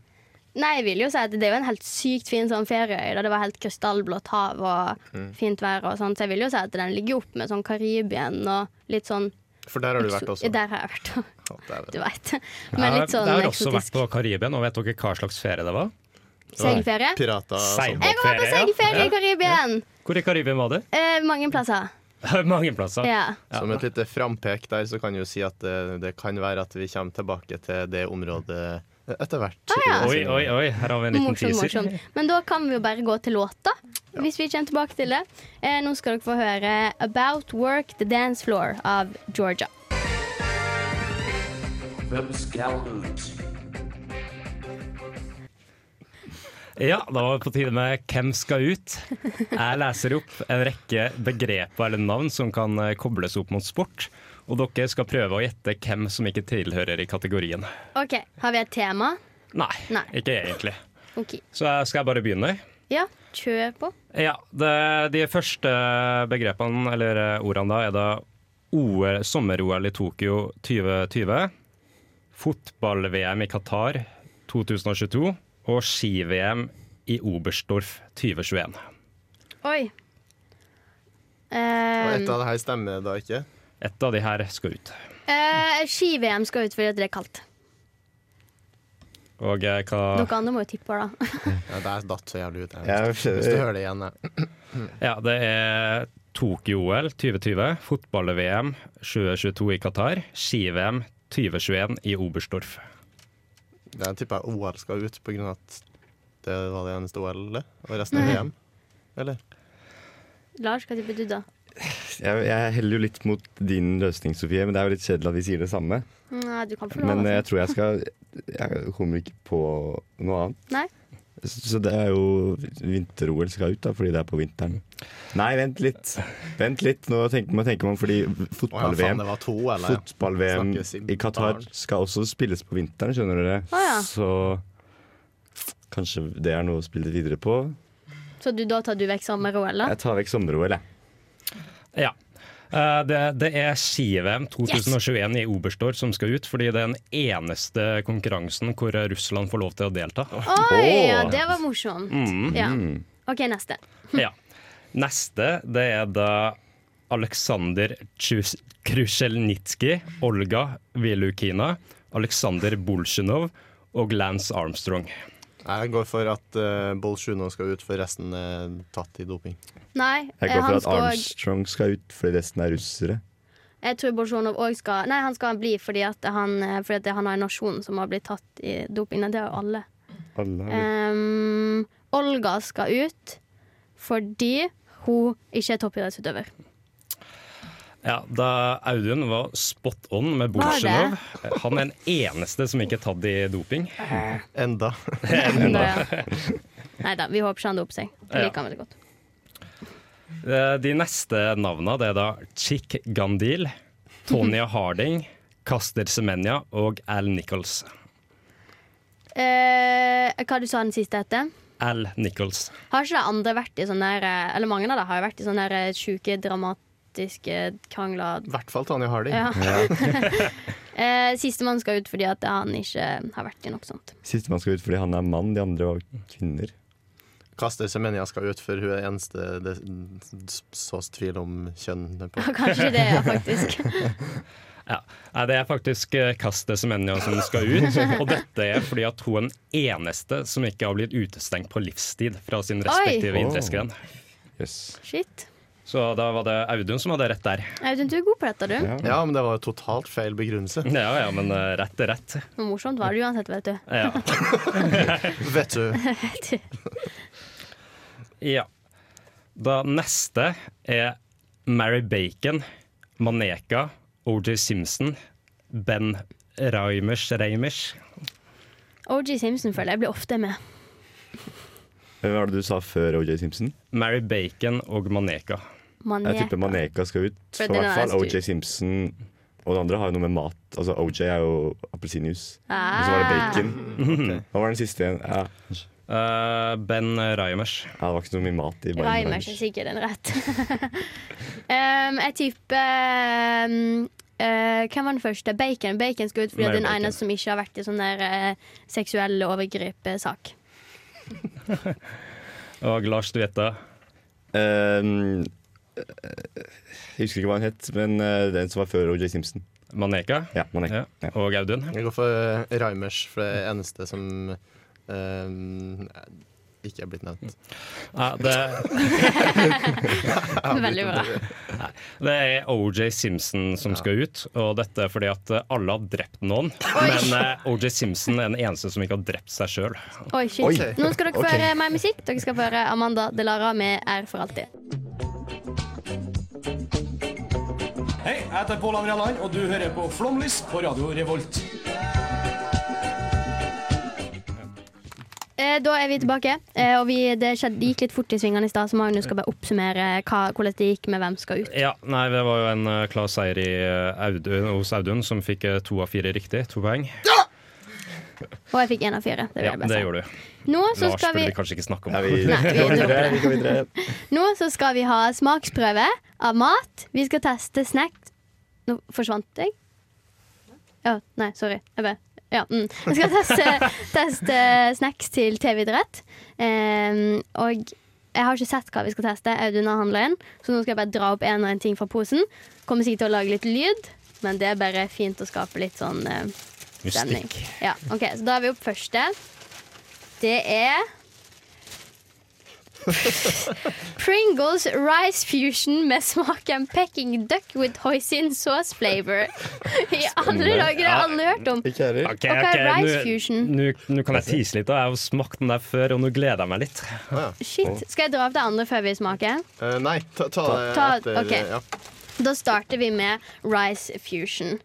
Speaker 4: Nei, jeg vil jo si at det er jo en helt sykt fin sånn ferieøy. Da det var helt krystallblått hav og fint vær og sånn. Så jeg vil jo si at den ligger opp med sånn Karibien og litt sånn
Speaker 6: For der har du vært også.
Speaker 4: Der har jeg vært,
Speaker 6: Ja, dæven.
Speaker 4: du veit. <laughs> Men litt sånn
Speaker 5: jeg har også vært
Speaker 4: eksotisk.
Speaker 5: på Karibien, og vet dere hva slags ferie det var?
Speaker 4: Seilferie.
Speaker 6: Pirater og sånn.
Speaker 4: Jeg var på seilferie i Karibien!
Speaker 5: Hvor i Karibien var det? <laughs>
Speaker 4: Eh, mange plasser.
Speaker 5: Mange plasser.
Speaker 4: Ja.
Speaker 6: Som et lite frampek der, så kan vi jo si at det, det kan være at vi kommer tilbake til det området etter hvert. i
Speaker 5: Oi,
Speaker 6: sendingen.
Speaker 5: oi, oi, her har vi en liten
Speaker 4: Morsomt,
Speaker 5: teaser.
Speaker 4: morsomt. Men da kan vi jo bare gå til låta, hvis vi kommer tilbake til det. Eh, nå skal dere få høre 'About Work The Dance Floor' av Georgia.
Speaker 5: Ja, da var det på tide med Hvem skal ut? Jeg leser opp en rekke begreper eller navn som kan eh, kobles opp mot sport. Og dere skal prøve å gjette hvem som ikke tilhører i kategorien.
Speaker 4: OK, har vi et tema?
Speaker 5: Nei,
Speaker 4: Nei.
Speaker 5: ikke egentlig.
Speaker 4: OK.
Speaker 5: Så jeg- skal jeg bare begynne.
Speaker 4: Ja, kjør på.
Speaker 5: Ja, det, De første begrepene, eller eh, ordene da, er da OL, sommer-OL i Tokyo 2020. Fotball-VM i Qatar 2022. Og ski-VM i Oberstdorf 2021.
Speaker 4: Oi.
Speaker 6: Og
Speaker 4: Eh,
Speaker 6: et av det her stemmer da ikke.
Speaker 5: Et av de her skal ut.
Speaker 4: eh, Ski-VM skal ut fordi at det er kaldt.
Speaker 5: Og eh,
Speaker 7: Ah.
Speaker 5: hva
Speaker 4: Dere andre må jo tippe, da. <laughs>
Speaker 6: Ja, der datt så jævlig ut.
Speaker 7: Ja,
Speaker 6: Jeg. Hvis du hører det igjen, jeg.
Speaker 5: Ja, det er Tokyo-OL 2020, fotball-VM 2022 i Qatar, ski-VM 2021 i Oberstdorf.
Speaker 6: Jeg tipper OL skal ut på grunn av at det var det eneste OL, det. og resten er VM. Eller?
Speaker 4: Lars, hva tipper du, da?
Speaker 7: Jeg, jeg heller jo litt mot din løsning, Sofie, men det er jo litt kjedelig at vi sier det samme.
Speaker 4: Nei, du kan få lov.
Speaker 7: Men
Speaker 4: altså.
Speaker 7: eh, jeg tror jeg skal Jeg kommer ikke på noe annet.
Speaker 4: Nei.
Speaker 7: Så så det er jo vinter-OL skal ut, da, fordi det er på vinteren. Nei, vent litt. Vent litt, nå tenker man, tenker man fordi
Speaker 6: Å ja, faen,
Speaker 7: fotball-VM
Speaker 6: det var to OL. ja.
Speaker 7: Fotball-VM
Speaker 6: Snakkes i
Speaker 7: i Qatar
Speaker 6: barn.
Speaker 7: skal også spilles på vinteren, skjønner dere.
Speaker 4: Å ja.
Speaker 7: Så kanskje det er noe å spille videre på.
Speaker 4: Så du, da tar du vekk sommer-OL, da?
Speaker 7: Jeg tar vekk sommer-OL, jeg.
Speaker 5: Ja. Eh, Det, det er ski-VM 2021 i Oberstdorf som skal ut, fordi det er den eneste konkurransen hvor Russland får lov til å delta.
Speaker 4: Oi, ja, det var morsomt.
Speaker 7: Mm-hmm.
Speaker 4: Ja. OK, neste.
Speaker 5: Ja. Neste det er da Aleksander Krusjelnitskij, Olga Vilukina, Aleksander Bolsjunov og Lance Armstrong.
Speaker 6: Jeg går for at uh, Bolsjunov skal ut, for resten er tatt i doping.
Speaker 4: Nei,
Speaker 7: Jeg
Speaker 4: eh,
Speaker 7: går for
Speaker 4: han
Speaker 7: at
Speaker 4: skal
Speaker 7: Armstrong skal ut, fordi resten er russere.
Speaker 4: Jeg tror Bolsjunov òg skal Nei, han skal bli fordi at han, eh, fordi at han har en nasjon som har blitt tatt i doping. Nei, det har jo alle.
Speaker 7: Alle har
Speaker 4: Ehm, Olga skal ut fordi hun ikke er toppidrettsutøver.
Speaker 5: Ja, da Audun var spot on med
Speaker 4: Var det?
Speaker 5: Bolsjunov. Han er den eneste som ikke er tatt i doping.
Speaker 6: <laughs> Enda.
Speaker 4: <laughs> Nei da, vi håper ikke han doper seg. Jeg liker han veldig godt.
Speaker 5: Eh, De neste navnene det er da Chick Gandil, Tonya Harding, Caster Semenya og Al Nichols.
Speaker 4: Eh, hva du sa den siste heter?
Speaker 5: Al Nichols.
Speaker 4: Har ikke de andre vært i sånne der, eh, Eller mange av dem har jo vært i sånne der eh, sjuke, dramatiske krangler.
Speaker 6: I hvert fall Tanja Harding.
Speaker 4: Ja. Eh, Sistemann skal ut fordi at han ikke har vært i noe sånt. <laughs>
Speaker 7: Sistemann skal ut fordi han er mann, de andre var kvinner.
Speaker 6: Kaster Semenya skal ut, for hun er eneste det s- sås tvil om kjønn på.
Speaker 4: <laughs> Kanskje det, ja, faktisk.
Speaker 5: Ja. Nei, det er faktisk eh, Caster Semenya som skal ut. Og dette er fordi at hun er den eneste som ikke har blitt utestengt på livstid fra sin respektive
Speaker 7: Oi.
Speaker 5: idrettsgren.
Speaker 7: Yes.
Speaker 4: Shit.
Speaker 5: Så da var det Audun som hadde rett der.
Speaker 4: Audun, du er god på dette, du.
Speaker 7: Ja.
Speaker 6: Ja, men det var jo totalt feil begrunnelse.
Speaker 5: Ja, ja, men eh, rett er rett.
Speaker 4: Men morsomt var det uansett, vet du.
Speaker 5: Ja.
Speaker 6: Vet du.
Speaker 5: Ja. Da neste er Mary Bacon, Maneka, OJ Simpson, Ben Reimers Reimers.
Speaker 4: OG Simpson føler jeg blir ofte med.
Speaker 7: Hvem var det du sa før OJ Simpson?
Speaker 5: Mary Bacon og Maneka.
Speaker 4: Mané.
Speaker 7: Jeg tipper Maneka skal ut.
Speaker 4: For
Speaker 7: For
Speaker 4: den
Speaker 7: i hvert fall
Speaker 4: er styr.
Speaker 7: OJ Simpson og det andre har jo noe med mat. Altså OJ er jo appelsinjuice. Og så var det
Speaker 4: Ah.
Speaker 7: bacon. <laughs> Hva var den siste igjen? Ja. ja,
Speaker 5: Eh, ben Reimers.
Speaker 7: det var ikke så mye mat i Bayern
Speaker 4: Reimers er
Speaker 7: Munich.
Speaker 4: sikkert en rett. <laughs> um, jeg tipper um, eh, Hvem var den første? Bacon. Bacon skal ut fordi
Speaker 5: Mary
Speaker 4: det er den
Speaker 5: Bacon.
Speaker 4: eneste som ikke har vært i sånn der uh, seksuelle overgrep-sak.
Speaker 5: Og Lars, du vet det.
Speaker 7: Ehm, eh, jeg husker ikke hva han het, men eh, den som var før OJ Simpson.
Speaker 5: Maneka.
Speaker 7: Ja, Maneka.
Speaker 5: Ja.
Speaker 7: Ja.
Speaker 5: Og Audun.
Speaker 6: Jeg går for eh, Reimers, for det er eneste som eh, ikke er blitt nevnt.
Speaker 5: Ja, det,
Speaker 4: Veldig bra.
Speaker 5: det er OJ Simpson som skal ut, og dette er fordi at eh, alle har drept noen. Men eh, OJ Simpson er den eneste som ikke har drept seg sjøl.
Speaker 4: Oi, shit. Nå skal dere få høre mer musikk. Dere skal få høre Amanda Delara med 'Er for alltid'.
Speaker 2: Hei, jeg heter Pål André Land, og du hører på Flomlys på Radio Revolt.
Speaker 4: Eh, da er vi tilbake. Eh, og vi, det skjedde, det gikk litt fort i svingene i stad, så Magnus skal bare oppsummere eh, hva, hvordan det gikk med hvem skal ut.
Speaker 5: Ja, nei, det var jo en eh, klar seier i, eh, Audun, hos Audun, som fikk eh, to av fire riktig. To poeng.
Speaker 4: Og jeg fikk én av fire. Det vil
Speaker 5: Ja,
Speaker 4: jeg bare
Speaker 5: det
Speaker 4: si.
Speaker 5: gjorde du.
Speaker 4: Nå så
Speaker 5: Lars
Speaker 4: skal
Speaker 5: burde
Speaker 4: vi
Speaker 5: vi kanskje ikke snakke om.
Speaker 7: Ja, vi
Speaker 4: Nei, vi dropper
Speaker 7: går videre.
Speaker 4: det.
Speaker 7: Vi går videre.
Speaker 4: Nå så skal vi ha smaksprøve av mat. Vi skal teste snack Nå forsvant jeg. Ja, nei, sorry. Jeg bare ja, mm. Vi skal
Speaker 7: <laughs>
Speaker 4: teste, teste snacks til TV-idrett. Ehm, og jeg har ikke sett hva vi skal teste. Audun har handla inn. Så nå skal jeg bare dra opp en og en ting fra posen. Kommer sikkert til å lage litt lyd, men det er bare fint å skape litt sånn eh, stemning. Ja, ok, Så da er vi opp første. Det er <laughs> Pringles Rice Fusion med smaken Peking Duck with hoisin sauce flavor. I alle dager, det har jeg aldri hørt om.
Speaker 7: Ikke heller.
Speaker 5: Ok,
Speaker 4: Ok,
Speaker 5: ok,
Speaker 4: Rice
Speaker 5: nå-
Speaker 4: Fusion.
Speaker 5: nå- Nå kan jeg tise litt. da. Jeg har jo smakt den der før, og nå gleder jeg meg litt.
Speaker 4: Shit, Skal jeg dra opp det andre før vi smaker?
Speaker 6: Eh, nei, ta, ta det
Speaker 4: Ta-
Speaker 6: etter.
Speaker 4: ok.
Speaker 6: Ja.
Speaker 4: Da starter vi med Rice Fusion.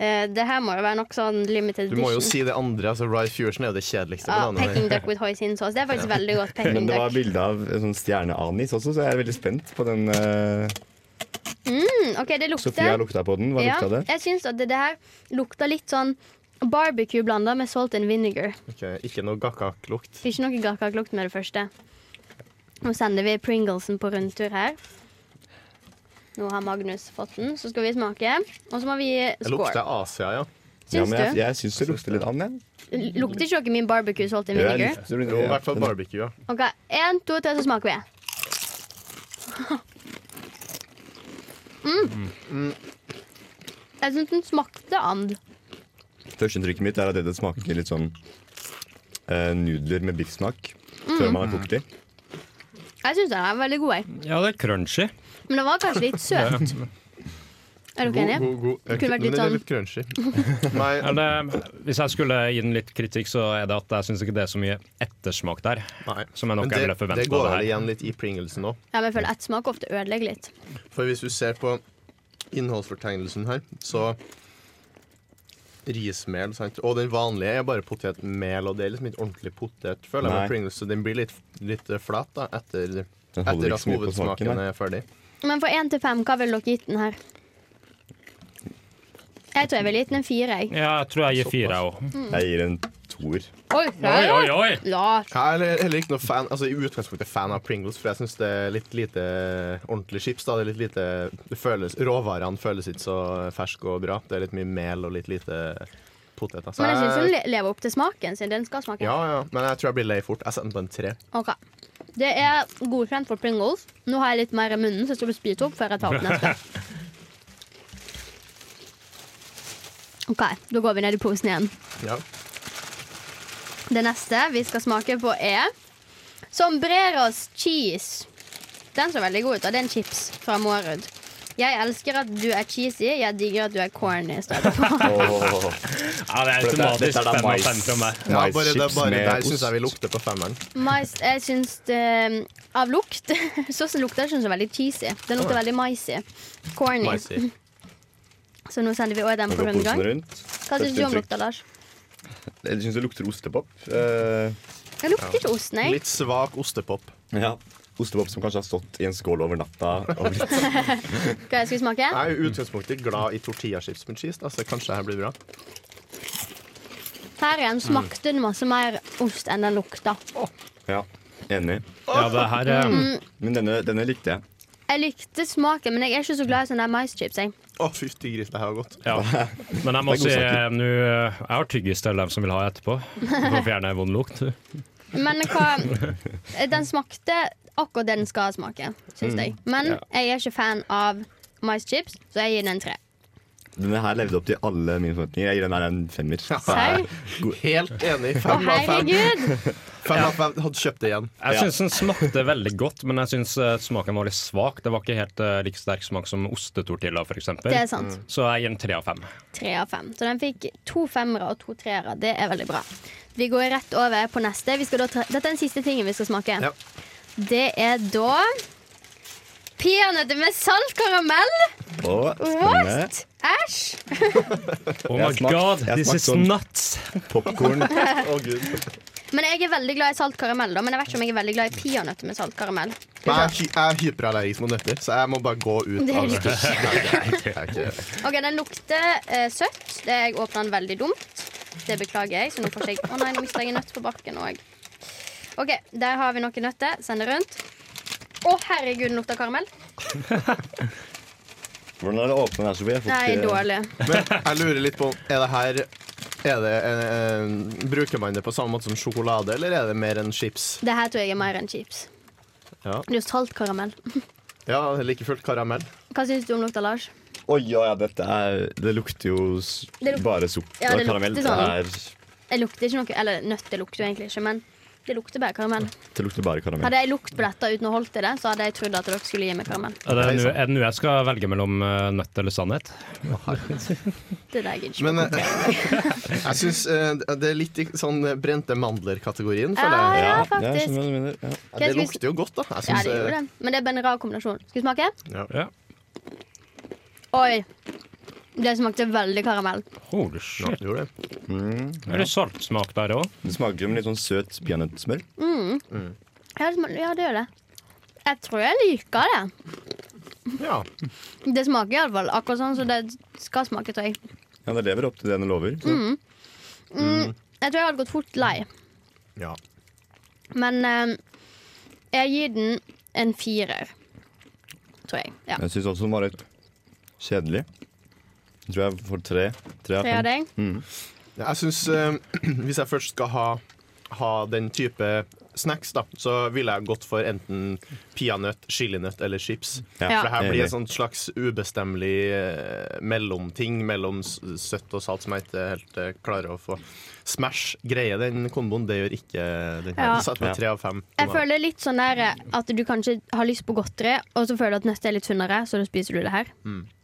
Speaker 4: Eh, det her må jo være nok sånn limited
Speaker 6: Du må
Speaker 4: edition.
Speaker 6: jo si det andre. Altså, Rye Fusion er jo det kjedeligste.
Speaker 4: Ja,
Speaker 6: bananen.
Speaker 4: Peking duck with hoisin sauce. Det er faktisk veldig godt.
Speaker 7: Men
Speaker 4: Peking
Speaker 7: det var
Speaker 4: duck.
Speaker 7: bilde av en sånn stjerneanis også, så jeg er veldig spent på den. eh,
Speaker 4: Mm, ok, det
Speaker 7: Sofia
Speaker 4: lukter.
Speaker 7: lukta på den. Hva
Speaker 4: Ja,
Speaker 7: lukta det?
Speaker 4: jeg syns at det, det her lukter litt sånn barbecue blanda med salt and vinegar.
Speaker 6: Ok, Ikke noe gakkak-lukt.
Speaker 4: Ikke noe gakkaklukt med det første. Nå sender vi Pringlesen på rundtur her. Nå har Magnus fått den, så skal vi smake. Og så må vi
Speaker 6: Jeg lukter
Speaker 4: score.
Speaker 6: Asia, ja.
Speaker 7: Ja,
Speaker 4: Syns
Speaker 7: men jeg,
Speaker 4: du?
Speaker 7: jeg syns det lukter litt an, jeg.
Speaker 4: L- Lukter ikke noe min barbecue salt and
Speaker 7: Ja, jeg
Speaker 4: vinegar?
Speaker 7: lukter-
Speaker 6: Jo, I hvert fall
Speaker 7: den-
Speaker 6: barbecue. Ja.
Speaker 4: OK, én, to, tre, så smaker vi. <laughs> Mm.
Speaker 7: Mm.
Speaker 4: Jeg syns den smakte and.
Speaker 7: Førsteinntrykket mitt er at dette smaker litt sånn eh, nudler med biffsmak før man har kokt de.
Speaker 4: Jeg syns den er veldig god, jeg.
Speaker 5: Ja, det er crunchy.
Speaker 4: Men den var kanskje <laughs> litt søt. Er dere enige?
Speaker 6: God, god, god.
Speaker 4: kunne vært litt
Speaker 6: Men det
Speaker 4: sånn-
Speaker 6: er litt crunchy. Nei,
Speaker 5: Eller, hvis jeg skulle gi den litt kritikk, så er det at jeg syns ikke det er så mye ettersmak der.
Speaker 6: nei.
Speaker 5: <laughs> Som jeg nok
Speaker 6: Men
Speaker 5: jeg
Speaker 6: det,
Speaker 5: ville forventet
Speaker 6: det går
Speaker 5: av
Speaker 6: vel
Speaker 5: det her.
Speaker 6: igjen litt i Pringlesen òg.
Speaker 4: Ja, men jeg føler ett smak ofte ødelegger litt.
Speaker 6: For hvis du ser på innholdsfortegnelsen her, så Rismel, sant? Og den vanlige er bare potetmel, og det er liksom ikke ordentlig potet, føler jeg,
Speaker 7: Nei.
Speaker 6: med Pringles, så den blir litt, litt flat da, etter,
Speaker 7: Den
Speaker 6: etter at
Speaker 7: holder liksom ikke så mye på smaken.
Speaker 6: hovedsmaken
Speaker 7: nei.
Speaker 6: er ferdig.
Speaker 4: Men fra én til fem, hva ville dere gitt den her? Jeg tror jeg ville gitt den en fire, jeg.
Speaker 5: Ja, jeg tror jeg gir fire, jeg òg.
Speaker 7: Jeg gir en toer.
Speaker 4: Oi,
Speaker 5: Oi, oi, oi!
Speaker 4: Ja,
Speaker 6: Jeg er heller ikke noe fan, altså i utgangspunktet fan av Pringles, for jeg syns det er litt lite ordentlig chips. da, det er litt lite, det føles, Råvarene føles ikke så ferske og bra. Det er litt mye mel og litt lite potet. da. Så
Speaker 4: Men jeg syns den
Speaker 6: jeg,
Speaker 4: le- lever opp til smaken sin. Den skal smake.
Speaker 6: ja, ja, men jeg tror jeg blir lei fort. Jeg setter den på en tre.
Speaker 4: Ok. Det er godkjent for Pringles. Nå har jeg litt mer i munnen, så jeg skal bli spyt opp før jeg tar opp neste. <laughs> OK, da går vi ned i posen igjen.
Speaker 6: Ja.
Speaker 4: Det neste vi skal smake på, er Sombreros cheese. Den så veldig god ut, og det er en chips fra Mårud. Jeg elsker at du er cheesy, jeg digger at du er corny. står det.
Speaker 5: Ja, det er
Speaker 7: dette- dette
Speaker 5: automatisk
Speaker 7: er da
Speaker 5: fem av
Speaker 7: mais.
Speaker 5: fem fra meg.
Speaker 6: Ja, bare, det, er
Speaker 7: Maischips
Speaker 6: bare
Speaker 7: med
Speaker 6: der syns
Speaker 7: ost.
Speaker 6: jeg vi lukter på femmeren.
Speaker 4: Mais, jeg syns det Av lukt <laughs> så lukter det ikke så veldig cheesy. Den lukter veldig maisy. Corny.
Speaker 6: Maisy.
Speaker 4: Så nå sender vi også den
Speaker 7: Jeg
Speaker 4: på
Speaker 7: går
Speaker 4: rundgang.
Speaker 7: posen rundt.
Speaker 4: Hva syns du om
Speaker 7: Førsteinntrykk.
Speaker 4: lukta, Lars?
Speaker 7: Jeg syns det lukter ostepop. Eh,
Speaker 4: Jeg lukter ikke ost, nei.
Speaker 6: Litt svak ostepop.
Speaker 7: ja. Ostepop som kanskje har stått i en skål over natta. Og blitt <laughs>
Speaker 4: Hva skal vi smake?
Speaker 6: Jeg er jo i utgangspunktet glad i tortillachips med cheese, da, så kanskje det her blir bra.
Speaker 4: Her igjen smakte den masse mer ost enn den lukta.
Speaker 7: Ja, enig.
Speaker 5: Ja, det her eh,
Speaker 4: Mm.
Speaker 7: Men denne, denne likte jeg.
Speaker 4: Jeg likte smaken, men jeg er ikke så glad i sånne der maischips. Jeg.
Speaker 6: Å, fytti gris, det her var godt.
Speaker 5: Ja. Men jeg må
Speaker 7: Det er god
Speaker 5: si eh,
Speaker 7: sak.
Speaker 5: nå eh, Jeg har tyggis til dem som vil ha etterpå. For å fjerne vond lukt.
Speaker 4: Men hva Den smakte akkurat det den skal smake, syns jeg. Men jeg er ikke fan av maischips, så jeg gir den en tre.
Speaker 7: Denne her levde opp til alle mine forventninger. Jeg gir den her en femmer.
Speaker 4: Serr?
Speaker 6: Helt enig.
Speaker 4: Å,
Speaker 6: Fem av fem.
Speaker 4: herregud!
Speaker 6: Fem av fem. Hadde kjøpt det igjen.
Speaker 4: <laughs>
Speaker 5: Jeg
Speaker 7: <laughs> Ja.
Speaker 5: syns den smakte veldig godt, men jeg syns smaken var litt svak. Det var ikke helt eh, like sterk smak som ostetortilla, f.eks.
Speaker 4: Det er sant.
Speaker 5: Så jeg gir den tre av fem.
Speaker 4: Tre av fem. Så den fikk to femmere og to treere. Det er veldig bra. Vi går rett over på neste. Vi skal da ta Dette er den siste tingen vi skal smake.
Speaker 6: Ja.
Speaker 4: Det er da peanøtter med salt karamell.
Speaker 7: Og spennende.
Speaker 4: What? Æsj!
Speaker 5: Oh
Speaker 7: Jeg
Speaker 5: my
Speaker 7: smakte-
Speaker 5: god,
Speaker 7: jeg
Speaker 5: this
Speaker 7: smakte
Speaker 5: is
Speaker 7: sånn.
Speaker 5: nuts!
Speaker 7: Popkorn.
Speaker 6: Å, Gud.
Speaker 4: Men jeg er veldig glad i salt karamell, da. Men jeg vet ikke om jeg er veldig glad i peanøtter med salt karamell.
Speaker 6: Men jeg, er hy- jeg er hyperallergisk mot nøtter, så jeg må bare gå ut.
Speaker 4: Det
Speaker 6: av
Speaker 4: er ikke
Speaker 6: Det er ikke-
Speaker 4: Ok, Den lukter eh, søtt. Det Jeg åpna den veldig dumt. Det beklager jeg. Så nå får ikke jeg Å nei, nå mista jeg en nøtt på bakken òg. OK, der har vi noen nøtter. Send det rundt. Å, herregud, den lukter karamell.
Speaker 7: Hvordan er det åpna der, Sofie? Jeg får
Speaker 4: Nei,
Speaker 7: ikke-
Speaker 4: dårlig.
Speaker 6: Men jeg lurer litt på Er det her er det en, en, Bruker man det på samme måte som sjokolade, eller er det mer enn chips?
Speaker 4: Det her tror jeg er mer enn chips.
Speaker 6: Ja.
Speaker 4: Det er jo saltkaramell.
Speaker 6: Ja, like fullt karamell.
Speaker 4: Hva syns du om lukta, Lars?
Speaker 7: Oi, ja, ja, dette er Det lukter jo s-
Speaker 4: Det luk-
Speaker 7: bare sukker
Speaker 4: Ja, det
Speaker 7: og karamell.
Speaker 4: lukter
Speaker 7: Det,
Speaker 4: sånn.
Speaker 7: er,
Speaker 4: Jeg lukter ikke noe Eller nøtter lukter jo egentlig ikke, men det lukter bare karamell.
Speaker 7: det lukter bare karamell.
Speaker 4: Hadde jeg lukt på dette uten å holdt i det, så hadde jeg trodd at dere skulle gi meg karamell.
Speaker 5: Er det nå- er det nå jeg skal velge mellom eh, nøtt eller sannhet?
Speaker 4: Det er det jeg gidder ikke.
Speaker 6: Men eh, <laughs> jeg syns det er litt i sånn eh, brente mandler-kategorien,
Speaker 4: Ja,
Speaker 6: føler
Speaker 4: ja,
Speaker 6: jeg.
Speaker 7: Ja, jeg
Speaker 4: faktisk.
Speaker 7: skjønner hva du mener. Ja.
Speaker 6: Ja, det
Speaker 4: skal vi-
Speaker 6: lukter jo godt, da. Jeg
Speaker 4: Ja,
Speaker 6: syns
Speaker 4: det gjorde
Speaker 6: eh,
Speaker 4: det. Men det er bare en rar kombinasjon. Skal vi smake?
Speaker 5: Ja.
Speaker 4: Oi. Det smakte veldig karamell.
Speaker 5: Holy shit.
Speaker 6: gjorde det.
Speaker 5: Er det saltsmak der òg?
Speaker 7: Det smaker som litt sånn søt peanøttsmør.
Speaker 4: Ja, det smak- ja, det gjør det. Jeg tror jeg liker det.
Speaker 6: Ja.
Speaker 4: Det smaker iallfall akkurat sånn som det skal smake, tror jeg.
Speaker 7: Ja, det lever opp til det den lover. Så.
Speaker 4: Mm. Jeg tror jeg hadde gått fort lei.
Speaker 6: ja.
Speaker 4: Men eh, Jeg gir den en firer, tror jeg. Ja.
Speaker 7: Jeg syns også den var litt kjedelig. Jeg tror jeg får tre. Tre
Speaker 4: Tre av deg?
Speaker 7: Mm.
Speaker 6: Ja, Jeg synes, eh, <clears throat> Hvis jeg først skal ha, ha den type snacks, da, så ville jeg gått for enten peanøtt, chilinøtt eller chips.
Speaker 7: Ja.
Speaker 6: For det her blir
Speaker 7: Enig.
Speaker 6: en sånn slags ubestemmelig eh, mellomting mellom s- søtt og salt som jeg ikke helt eh, klarer å få. Smash greier den komboen, det gjør ikke den her.
Speaker 4: Ja.
Speaker 6: Den satt
Speaker 7: Ja.
Speaker 6: med tre av fem.
Speaker 4: Jeg føler litt sånn der at du kanskje har lyst på godteri, og så føler du at neste er litt sunnere, så da spiser du det her.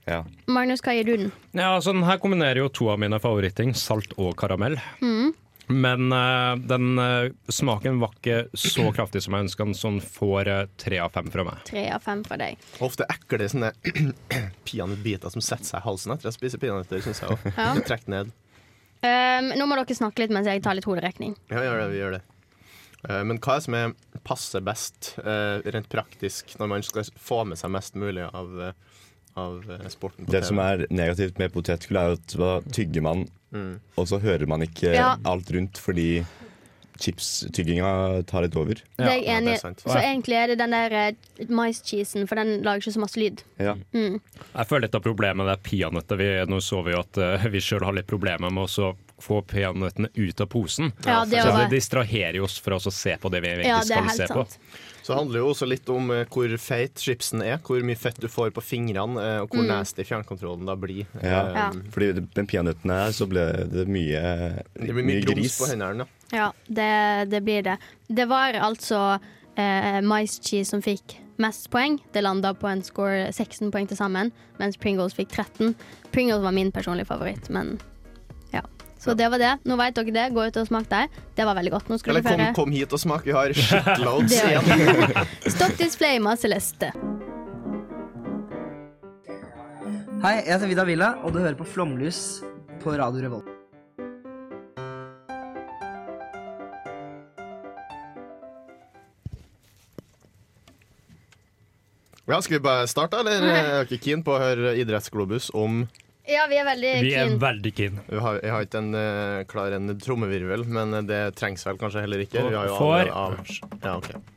Speaker 7: Ja.
Speaker 4: Magnus, hva gir du den?
Speaker 5: Ja, altså Den her kombinerer jo to av mine favoritting, salt og karamell.
Speaker 4: Mm.
Speaker 5: Men eh, den eh, smaken var ikke så kraftig som jeg ønska den, så den får eh, tre av fem fra meg.
Speaker 4: Tre av fem fra deg.
Speaker 6: Ofte ekle sånne <clears throat> peanøttbiter som setter seg i halsen etter jeg spiser peanøtter, syns jeg òg.
Speaker 4: Ja.
Speaker 6: Det trekker ned.
Speaker 4: Um, nå må dere snakke litt mens jeg tar litt hoderekning.
Speaker 6: Ja, vi gjør det. Vi gjør det. Eh, Men hva er det som er passer best eh, rent praktisk når man skal få med seg mest mulig av, eh, av eh, sporten? på
Speaker 7: Det
Speaker 6: TV?
Speaker 7: som er negativt med potetgull, er jo at da tygger man,
Speaker 6: Mm.
Speaker 7: og så hører man ikke
Speaker 4: Ja.
Speaker 7: alt rundt fordi chipstygginga tar litt over.
Speaker 4: det er jeg
Speaker 6: ja, det er
Speaker 4: enig i.
Speaker 6: sant.
Speaker 4: Så egentlig er det den der eh, maischeesen, for den lager ikke så masse lyd.
Speaker 7: Ja.
Speaker 5: Jeg føler litt av problemet med det peanøttet. Vi, nå så vi jo at eh, vi sjøl har litt problemer med å så få peanøttene ut av posen.
Speaker 4: Ja, det
Speaker 5: så
Speaker 4: var-
Speaker 5: det distraherer jo oss fra oss å se på det vi egentlig
Speaker 4: Ja, det er
Speaker 5: skal
Speaker 4: helt
Speaker 5: se på.
Speaker 4: sant.
Speaker 6: Så det handler jo også litt om eh, hvor feit chipsen er, hvor mye fett du får på fingrene, eh, og hvor
Speaker 4: Mm.
Speaker 6: nasty fjernkontrollen da blir.
Speaker 7: Ja.
Speaker 6: Eh,
Speaker 4: Ja.
Speaker 7: Fordi det- den peanøtten her, så ble det mye,
Speaker 6: Det blir mye grums på hendene. ja.
Speaker 4: Ja, det, det blir det. Det var altså eh, maischeese som fikk mest poeng. Det landa på en score 16 poeng til sammen, mens Pringles fikk 13. Pringles var min personlige favoritt, men ja. Så det var det. Nå veit dere det. Gå ut og smak der. Det var veldig godt. Nå skulle
Speaker 6: Eller
Speaker 4: dere høre
Speaker 6: kom, kom hit og smak,
Speaker 4: <laughs>
Speaker 6: vi har shitloads
Speaker 4: Det gjør
Speaker 6: igjen.
Speaker 4: Stopp display, masse liste.
Speaker 11: Hei, jeg heter Vida Villa, og du hører på Flomlys på Radio Revolt.
Speaker 6: Ja, skal vi bare starte, eller? Jeg er ikke keen på å høre Idrettsglobus om
Speaker 4: Ja, vi er veldig
Speaker 5: Vi er
Speaker 4: keen.
Speaker 5: veldig keen.
Speaker 6: Vi har, jeg har ikke en eh, klar en trommevirvel, men eh, det trengs vel kanskje heller ikke. Vi har jo
Speaker 5: For-
Speaker 6: allerede avs- ja, ok.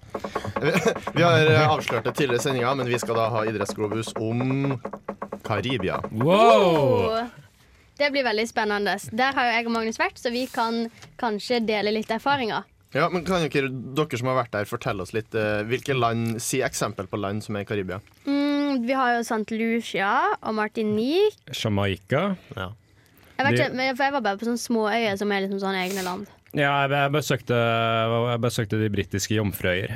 Speaker 6: <laughs> Vi har eh, avslørt det tidligere i sendinga, men vi skal da ha idrettsglobus om Karibia.
Speaker 5: Wow!
Speaker 4: Oh, Det blir veldig spennende. Der har jo jeg og Magnus vært, så vi kan kanskje dele litt erfaringer.
Speaker 6: Ja, men Kan dere, dere som har vært der, fortelle oss litt eh, hvilke land, si eksempel på land som er i Karibia?
Speaker 4: Mm, vi har jo St. Lucia og Martinique.
Speaker 5: Jamaica.
Speaker 4: Jeg, vet
Speaker 5: Det-
Speaker 4: ikke, men- for jeg var bare på sånne småøyer som er liksom sånne egne land.
Speaker 5: Ja, jeg- jeg besøkte, jeg besøkte de britiske Jomfrøyer.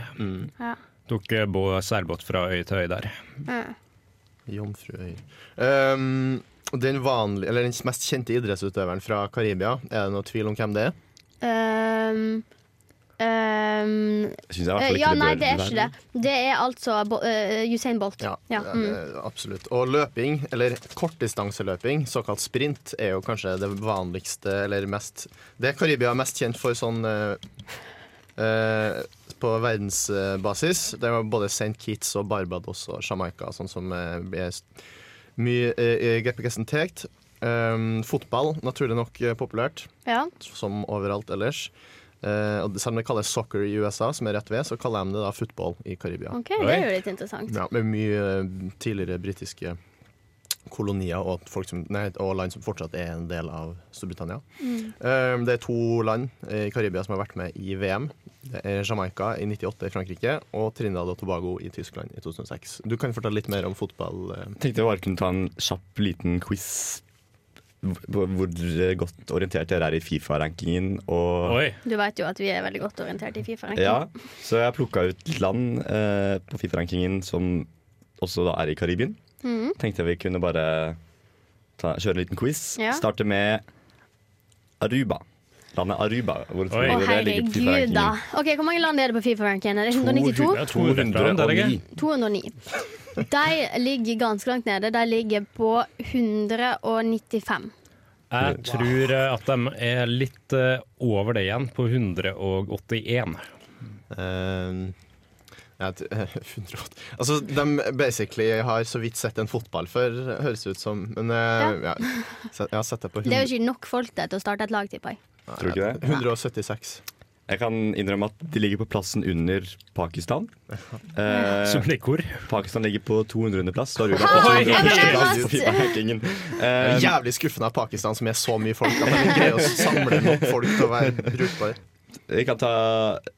Speaker 4: Ja.
Speaker 5: Tok eh, bå- seilbåt fra øy til øy der.
Speaker 6: Jomfruøyer. Um, den, vanlige, eller den mest kjente idrettsutøveren fra Karibia, er det noe tvil om hvem det er?
Speaker 4: Ehm, ehm,
Speaker 7: Jeg synes jeg i hvert
Speaker 4: eh,
Speaker 7: fall ikke
Speaker 4: ja, nei, det er
Speaker 7: bør
Speaker 4: ikke det. Det er altså Bo- eh, Usain Bolt.
Speaker 6: Ja,
Speaker 4: Ja,
Speaker 6: det-
Speaker 4: mm.
Speaker 6: det- absolutt. Og løping, eller kortdistanseløping, såkalt sprint, er jo kanskje det vanligste eller mest Det Karibia er mest kjent for sånn eh, eh, på verdensbasis. Det var både St. Kitts og Barbados og Jamaica, sånn som eh, er s- mye eh, representert. Um, fotball, naturlig nok eh, populært,
Speaker 4: Ja.
Speaker 6: som overalt ellers. Eh, og selv om det kalles soccer i USA, som er rett ved, så kaller de det da football i Karibia.
Speaker 4: OK, det er jo litt interessant.
Speaker 6: Ja, med mye eh, tidligere britiske kolonier og, folk som, nei, og land som fortsatt er en del av Storbritannia. Eh, det er to land i Karibia som har vært med i VM. Det er Jamaica i 98 i Frankrike og Trinidad og Tobago i Tyskland i 2006. Du kan fortelle litt mer om fotball. eh.
Speaker 7: Tenkte jeg bare kunne ta en kjapp liten quiz på hvor godt orientert dere er i Fifa-rankingen. Og
Speaker 5: Oi!
Speaker 4: Du vet jo at vi er veldig godt orientert i Fifa. <laughs> ikke?
Speaker 7: Ja, så jeg plukka ut land eh, på Fifa-rankingen som også da er i Karibien.
Speaker 4: Mm.
Speaker 7: Tenkte jeg vi kunne bare ta, kjøre en liten quiz.
Speaker 4: Ja.
Speaker 7: Starte med Aruba. Landet Aruba. Hvor tror
Speaker 5: Oi.
Speaker 4: Å,
Speaker 7: dere det ligger på
Speaker 4: herregud, da.
Speaker 7: Fifa-rankingen?
Speaker 4: OK, hvor mange land er det på Fifa-ranken? Er det 192?
Speaker 7: 209.
Speaker 4: 209. De ligger ganske langt nede. De ligger på 195.
Speaker 5: Jeg tror eh, at de er litt eh, over det igjen, på 181.
Speaker 6: Eh, jeg t- 108. Altså, de basically har så vidt sett en fotball før, høres det ut som. Men eh, ja. jeg har sett det på
Speaker 4: Det er jo ikke nok folk der til å starte et lag, tipper jeg.
Speaker 7: Tror du ikke det?
Speaker 6: 176.
Speaker 7: Jeg kan innrømme at de ligger på plassen under
Speaker 4: <laughs>
Speaker 7: Pakistan. Eh,
Speaker 5: Som ligger hvor?
Speaker 7: Pakistan ligger på 200.-plass.
Speaker 4: <laughs>
Speaker 7: Da har Jordan
Speaker 6: Oi,
Speaker 7: fått
Speaker 6: ja, det er
Speaker 7: førsteplass
Speaker 6: godt.
Speaker 7: på FIFA-hackingen.
Speaker 6: Jeg
Speaker 7: Eh,
Speaker 6: er jævlig skuffende av Pakistan som er så mye folk. At de greier å samle nok folk til å være brukbare.
Speaker 7: Jeg kan ta,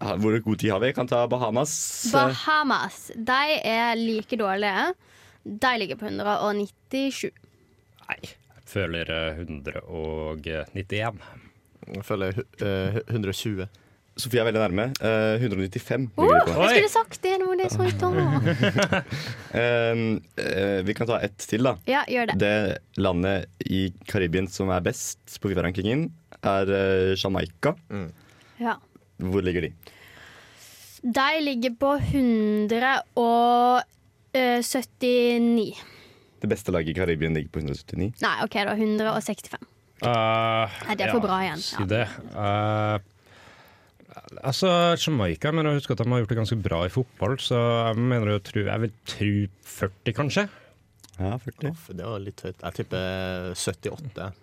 Speaker 7: ha- hvor god tid har vi? Jeg kan ta Bahamas.
Speaker 4: Bahamas. De er like dårlige. De ligger på 197.
Speaker 5: Føler eh, 191.
Speaker 7: Jeg føler
Speaker 6: eh,
Speaker 7: 120. Sofie er veldig nærme. Eh, 195.
Speaker 4: Åh,
Speaker 7: ligger de på.
Speaker 4: jeg skulle sagt det nå! Det er så dumt.
Speaker 7: Ehm, eh, vi kan ta ett til, da.
Speaker 4: Ja, gjør det.
Speaker 7: Det landet i Karibien som er best på FIFA-rankingen, er eh, Jamaica.
Speaker 4: Ja.
Speaker 7: Hvor ligger de?
Speaker 4: De ligger på 179.
Speaker 7: Det beste laget i Karibien ligger på 179.
Speaker 4: Nei, OK, da. 165. Nei, det er for bra igjen.
Speaker 5: Eh, Si
Speaker 4: Ja.
Speaker 5: det. Eh, altså, Jamaica mener jeg husker at de har gjort det ganske bra i fotball, så jeg mener jeg, tror, jeg vil tro 40, kanskje.
Speaker 7: Ja, 40.
Speaker 12: Det var litt høyt. Jeg tipper 78.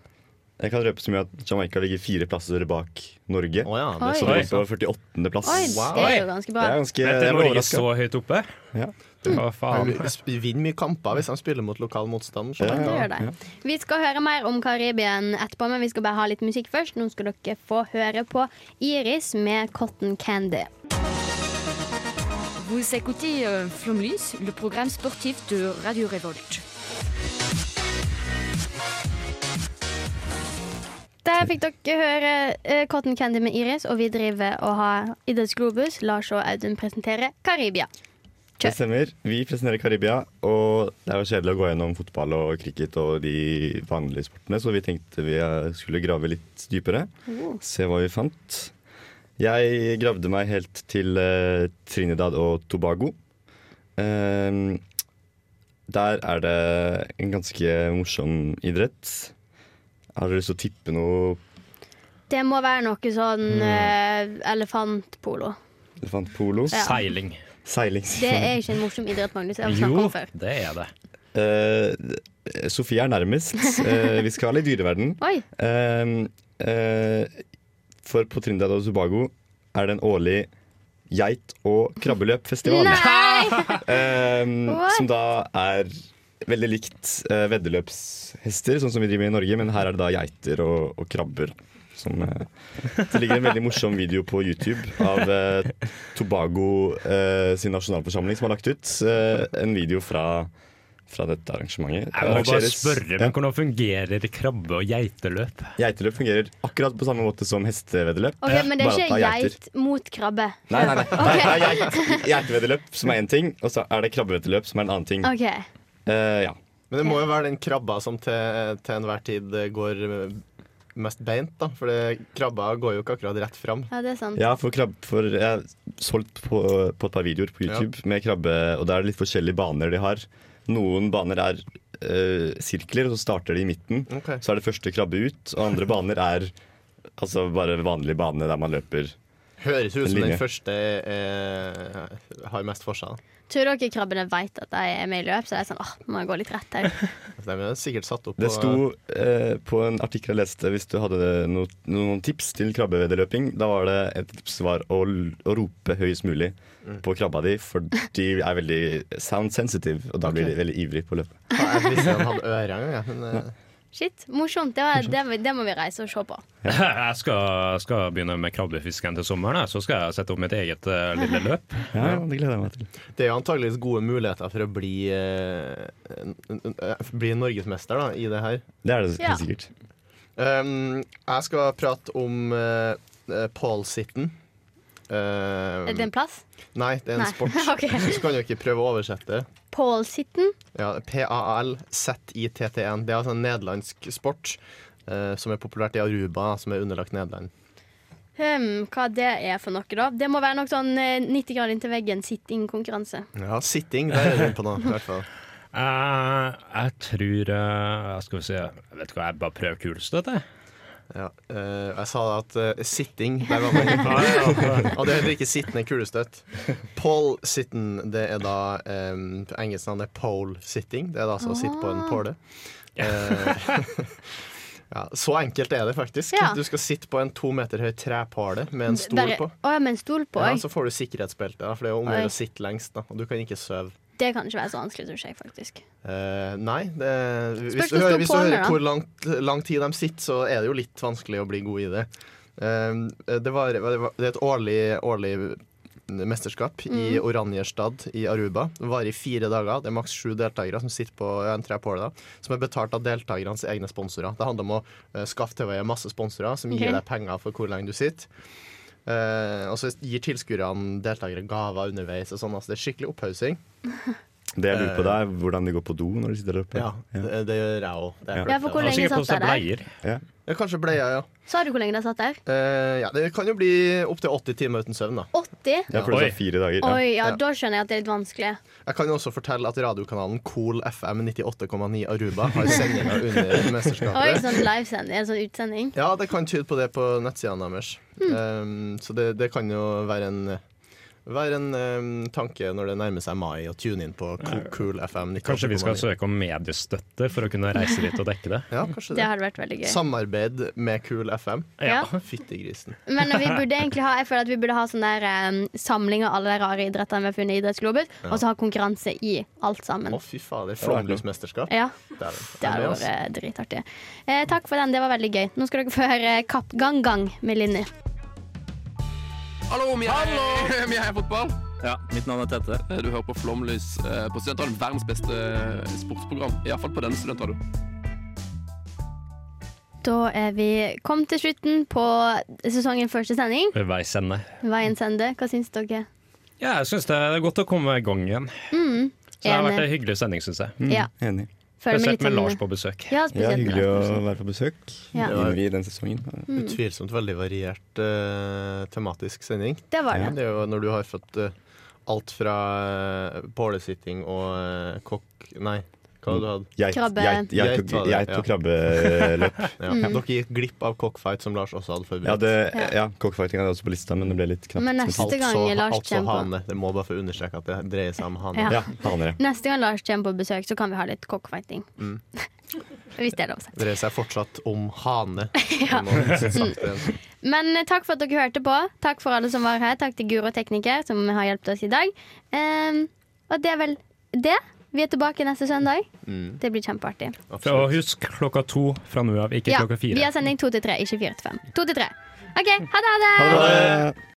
Speaker 7: Jeg kan røpe så mye at Jamaica ligger fire plasser bak Norge. Oh,
Speaker 4: det er
Speaker 7: Så
Speaker 4: Oi.
Speaker 7: de er på 48. plass.
Speaker 4: Oi, det er jo ganske bra.
Speaker 7: Det er ganske
Speaker 5: Vent, er
Speaker 7: jeg ble
Speaker 5: Norge
Speaker 7: overrasket.
Speaker 5: så høyt oppe?
Speaker 7: Ja.
Speaker 5: Hva faen?
Speaker 6: Vi vinner mye kamper hvis de spiller mot lokal motstand.
Speaker 4: Ja, det gjør det. Vi skal høre mer om Karibien etterpå, men vi skal bare ha litt musikk først. Nå skal dere få høre på Iris med Cotton Candy.
Speaker 2: Vous écoutez euh, Flomlys, le programme sportif de Radio Révolte.
Speaker 4: Der fikk dere høre eh, Cotton Candy med Iris, og vi driver og har Idretts Globus. Lars og Audun presenterer Karibia.
Speaker 7: Det stemmer. Vi presenterer Karibia, og det er jo kjedelig å gå gjennom fotball og cricket og de vanlige sportene, så vi tenkte vi eh, skulle grave litt dypere.
Speaker 13: Oh.
Speaker 7: Se hva vi fant. Jeg gravde meg helt til eh, Trinidad og Tobago. Ehm, der er det en ganske morsom idrett. Har dere lyst til å tippe noe
Speaker 4: Det må være noe sånn eh, elefantpolo.
Speaker 7: elefantpolo?
Speaker 4: Ja.
Speaker 5: Seiling.
Speaker 7: Seiling.
Speaker 4: Det er ikke en morsom idrett, Magnus. Jeg har snakket om før.
Speaker 5: det er det.
Speaker 7: Eh, Sofie er nærmest. Eh, vi skal ha litt dyreverden.
Speaker 4: Oi.
Speaker 7: Eh, eh, for på Trinidad og Tobago er det en årlig geit- og krabbeløpfestival.
Speaker 4: <laughs>
Speaker 7: Eh, som da er veldig likt eh, veddeløpshester, sånn som vi driver med i Norge, men her er det da geiter og, og krabber. Som, eh, det ligger en veldig morsom video på YouTube av eh, Tobago eh, sin nasjonalforsamling som har lagt ut eh, en video fra, fra dette arrangementet. Det
Speaker 5: Jeg må bare
Speaker 7: arrangeres-
Speaker 5: spørre, men hvordan fungerer krabbe- og geiteløp?
Speaker 7: Geiteløp fungerer akkurat på samme måte som hesteveddeløp.
Speaker 4: Ok, Men det er
Speaker 7: bare at
Speaker 4: ikke
Speaker 7: det er geiter.
Speaker 4: geit mot krabbe.
Speaker 7: Nei, nei,
Speaker 4: <laughs>
Speaker 7: nei.
Speaker 4: Ok.
Speaker 7: Det er geit- Geiteveddeløp som er én ting, og så er det krabbeveddeløp som er en annen ting.
Speaker 4: OK.
Speaker 7: Eh, ja.
Speaker 6: Men det må jo være den krabba som til, til enhver tid eh, går mest beint, da. For det, krabba går jo ikke akkurat rett fram.
Speaker 4: Ja, det er sant.
Speaker 7: Ja, for krabb, for jeg har solgt på, på et par videoer på YouTube med krabbe, og da er det litt forskjellige baner de har. Noen baner er eh, sirkler, og så starter de i midten. Så er det første krabbe ut, og andre baner er altså bare vanlige baner der man løper.
Speaker 6: Høres ut
Speaker 7: En
Speaker 6: som den
Speaker 7: linje.
Speaker 6: første eh, har mest for seg. da.
Speaker 4: Tror dere krabbene vet at de er med i løp, så de er sånn åh, nå må jeg gå litt rett her.
Speaker 6: Altså, De er sikkert satt opp
Speaker 7: Det
Speaker 6: på-
Speaker 7: sto eh, på en artikkel jeg leste, hvis du hadde no, noen tips til krabbeveddeløping, da var det et tips var å, l- å rope høyest mulig på krabba di, for de er veldig sound sensitive, og da
Speaker 6: Ok.
Speaker 7: blir de veldig ivrig på å løpe.
Speaker 6: Ja, Jeg visste de hadde ører engang, jeg. Men, eh,
Speaker 4: Shit, morsomt. Det, var, det, det må vi reise og se på.
Speaker 5: <laughs> Jeg skal, skal begynne med krabbefisken til sommeren, jeg, så skal jeg sette opp mitt eget eh, lille
Speaker 4: <laughs>
Speaker 5: løp.
Speaker 7: Ja, det gleder jeg meg til.
Speaker 6: Det er jo antageligvis gode muligheter for å bli, eh, n- n- eh, bli norgesmester da, i det her.
Speaker 7: Det er det
Speaker 6: Ja.
Speaker 7: helt sikkert.
Speaker 6: Um, jeg skal prate om eh, eh, Paul Sitten. Um,
Speaker 4: Er det en plass?
Speaker 6: Nei, det er en
Speaker 4: Nei.
Speaker 6: sport.
Speaker 4: <laughs> Ok.
Speaker 6: Så kan jo ikke prøve å oversette.
Speaker 4: Paul Sitten.
Speaker 6: Ja, P-A-L-Z-I-T-T-N. Det er altså en nederlandsk sport eh, som er populært i Aruba, som er underlagt Nederland.
Speaker 4: Hmm, hva det er for noe, da? Det må være noe sånn eh, 90 grader inntil veggen, sitting-konkurranse.
Speaker 6: Ja, sitting, der er du inne på noe, i hvert fall.
Speaker 5: Eh, jeg tror eh, Skal vi se Vet du hva, jeg bare prøver kulest, vet jeg.
Speaker 6: Ja, eh, jeg sa at eh, sitting der var man inne på. Og det heter ikke sittende kulestøtt. Pole sitten, det er da eh, På
Speaker 4: Ah.
Speaker 6: engelsk navn er pole sitting. Det er da altså å sitte på en påle. Eh, <laughs> Ja, så enkelt er det faktisk.
Speaker 4: Ja.
Speaker 6: Du skal sitte på en to meter høy trepæle med en stol
Speaker 4: Der er-
Speaker 6: på.
Speaker 4: Å ja, med en stol på
Speaker 6: Ja,
Speaker 4: òg.
Speaker 6: altså- så får du sikkerhetsbelte, da, for det er jo om å
Speaker 4: Oi.
Speaker 6: gjøre å sitte lengst, da, og du kan ikke sove.
Speaker 4: Det kan ikke være så vanskelig, tror jeg faktisk.
Speaker 6: Eh, nei, det, hvis
Speaker 4: Spørs
Speaker 6: du
Speaker 4: hvordan
Speaker 6: hører,
Speaker 4: du
Speaker 6: hvis du
Speaker 4: tåler,
Speaker 6: hører
Speaker 4: da.
Speaker 6: hvor langt, lang tid de sitter, så er det jo litt vanskelig å bli god i det. Eh, det, var, det var- det er et årlig, årlig mesterskap i
Speaker 9: Mm.
Speaker 6: Oranjestad i Aruba. Det varer i fire dager. Det er maks sju deltakere som sitter på en trepåle, da, som er betalt av deltakernes egne sponsorer. Det handler om å eh, skaffe til veie masse sponsorer som gir
Speaker 9: Ok.
Speaker 6: deg penger for hvor lenge du sitter. Eh, og så gir tilskuerne deltakere gaver underveis. Og sånn, altså, det er skikkelig opphaussing.
Speaker 7: Det jeg lurer på, det er hvordan det går på do når de sitter der oppe.
Speaker 6: Ja, det, det gjør jeg òg.
Speaker 7: Ja.
Speaker 4: Ja, for hvor lenge satt dere der?
Speaker 7: Ja.
Speaker 6: Ja, kanskje bleia, ja.
Speaker 4: Sa du hvor lenge dere satt der?
Speaker 6: Eh, ja. Det kan jo bli opptil 80 timer uten søvn, da.
Speaker 4: 80?
Speaker 7: Ja, for det er fire dager.
Speaker 4: Oi, ja,
Speaker 6: Ja.
Speaker 4: da skjønner jeg at det er litt vanskelig.
Speaker 6: Jeg kan jo også fortelle at radiokanalen Cool FM 98,9 Aruba
Speaker 5: <laughs>
Speaker 6: har sendinger under
Speaker 4: Oi,
Speaker 6: mesterskapet.
Speaker 4: sånn livesending, en sånn utsending.
Speaker 6: Ja, det kan tyde på det på nettsidene deres.
Speaker 4: Hmm.
Speaker 6: Eh, så det, det kan jo være en være en eh, tanke når det nærmer seg mai, å tune inn på Co- Cool FM 98,9.
Speaker 5: Kanskje vi skal søke om mediestøtte for å kunne reise dit og dekke det?
Speaker 6: Ja, kanskje
Speaker 4: Det hadde vært veldig gøy.
Speaker 6: Samarbeid med Cool
Speaker 5: <laughs>
Speaker 6: FM.
Speaker 4: Ja.
Speaker 6: Fyttegrisen.
Speaker 4: Men vi burde egentlig ha Jeg føler at vi burde ha sånn der em, samling av alle de rare idrettene vi har funnet i Idrettsglobet,
Speaker 6: Ja.
Speaker 4: og så ha konkurranse i alt sammen.
Speaker 6: Å, fy fader. Flomlysmesterskap.
Speaker 4: Ja.
Speaker 6: Dæven.
Speaker 4: Det
Speaker 6: Jeg er
Speaker 4: hadde
Speaker 6: med,
Speaker 4: vært
Speaker 6: altså.
Speaker 4: eh, dritartig. Eh, takk for den, det var veldig gøy. Nå skal dere få høre Kapp Gang Gang med Linni.
Speaker 14: Hallo, vi er, <laughs> vi er fotball. Ja, mitt navn er Tete. Du hører på Flomlys eh, på Studentradioen. Verdens beste eh, sportsprogram. Iallfall på denne studentradioen.
Speaker 4: Da er vi kommet til slutten på sesongen første sending.
Speaker 5: Ved veis ende.
Speaker 4: Veien sende, hva syns dere?
Speaker 5: Ja, jeg syns det er godt å komme i gang igjen.
Speaker 4: Mm,
Speaker 5: Så det har vært
Speaker 4: enig.
Speaker 5: en hyggelig sending, syns jeg.
Speaker 4: Ja.
Speaker 7: Enig.
Speaker 4: Føler meg litt
Speaker 5: Spesielt med
Speaker 4: sånn-
Speaker 5: Lars på besøk.
Speaker 4: Ja, spesielt
Speaker 7: Ja,
Speaker 4: med
Speaker 7: hyggelig å
Speaker 4: Lars på besøk.
Speaker 7: være på besøk.
Speaker 4: Ja.
Speaker 7: Det var vi den sesongen.
Speaker 4: Mm.
Speaker 6: Utvilsomt veldig variert eh, tematisk sending.
Speaker 4: Det var det.
Speaker 6: Ja, er jo når du har fått eh, alt fra eh, pålesitting og eh, kokk Nei, hva hadde du hatt?
Speaker 7: Geit- Krabbe. geit- geit-
Speaker 6: var det,
Speaker 7: geit på krabbeløp.
Speaker 6: ja.
Speaker 4: Mm.
Speaker 6: Dere gikk glipp av cockfight, som Lars også hadde forberedt.
Speaker 7: Ja, det, ja cockfighting hadde jeg også på lista, men det ble litt knapt.
Speaker 4: Men neste gang
Speaker 6: altså,
Speaker 4: Lars
Speaker 6: altså
Speaker 4: kommer på-
Speaker 6: hane. Det må bare få understreke at det dreier seg om hane.
Speaker 4: Ja. Ja,
Speaker 7: haner,
Speaker 4: Neste gang Lars kommer på besøk, så kan vi ha litt cockfighting.
Speaker 6: Mm.
Speaker 4: <laughs> Hvis det er lov å si.
Speaker 6: Dreier seg fortsatt om hane.
Speaker 4: <laughs> Ja.
Speaker 6: Vi må få sagt det.
Speaker 4: Men eh, takk for at dere hørte på. Takk for alle som var her. Takk til Guro tekniker, som har hjulpet oss i dag. Ehm, og det er vel det. Vi er tilbake neste søndag.
Speaker 5: Mm.
Speaker 4: Det blir kjempeartig.
Speaker 5: Og husk klokka to fra nå av, ikke klokka
Speaker 4: vi
Speaker 5: fire.
Speaker 4: har sending to til tre, ikke fire til fem. To til tre. OK, ha det, ha det!
Speaker 5: Ha det!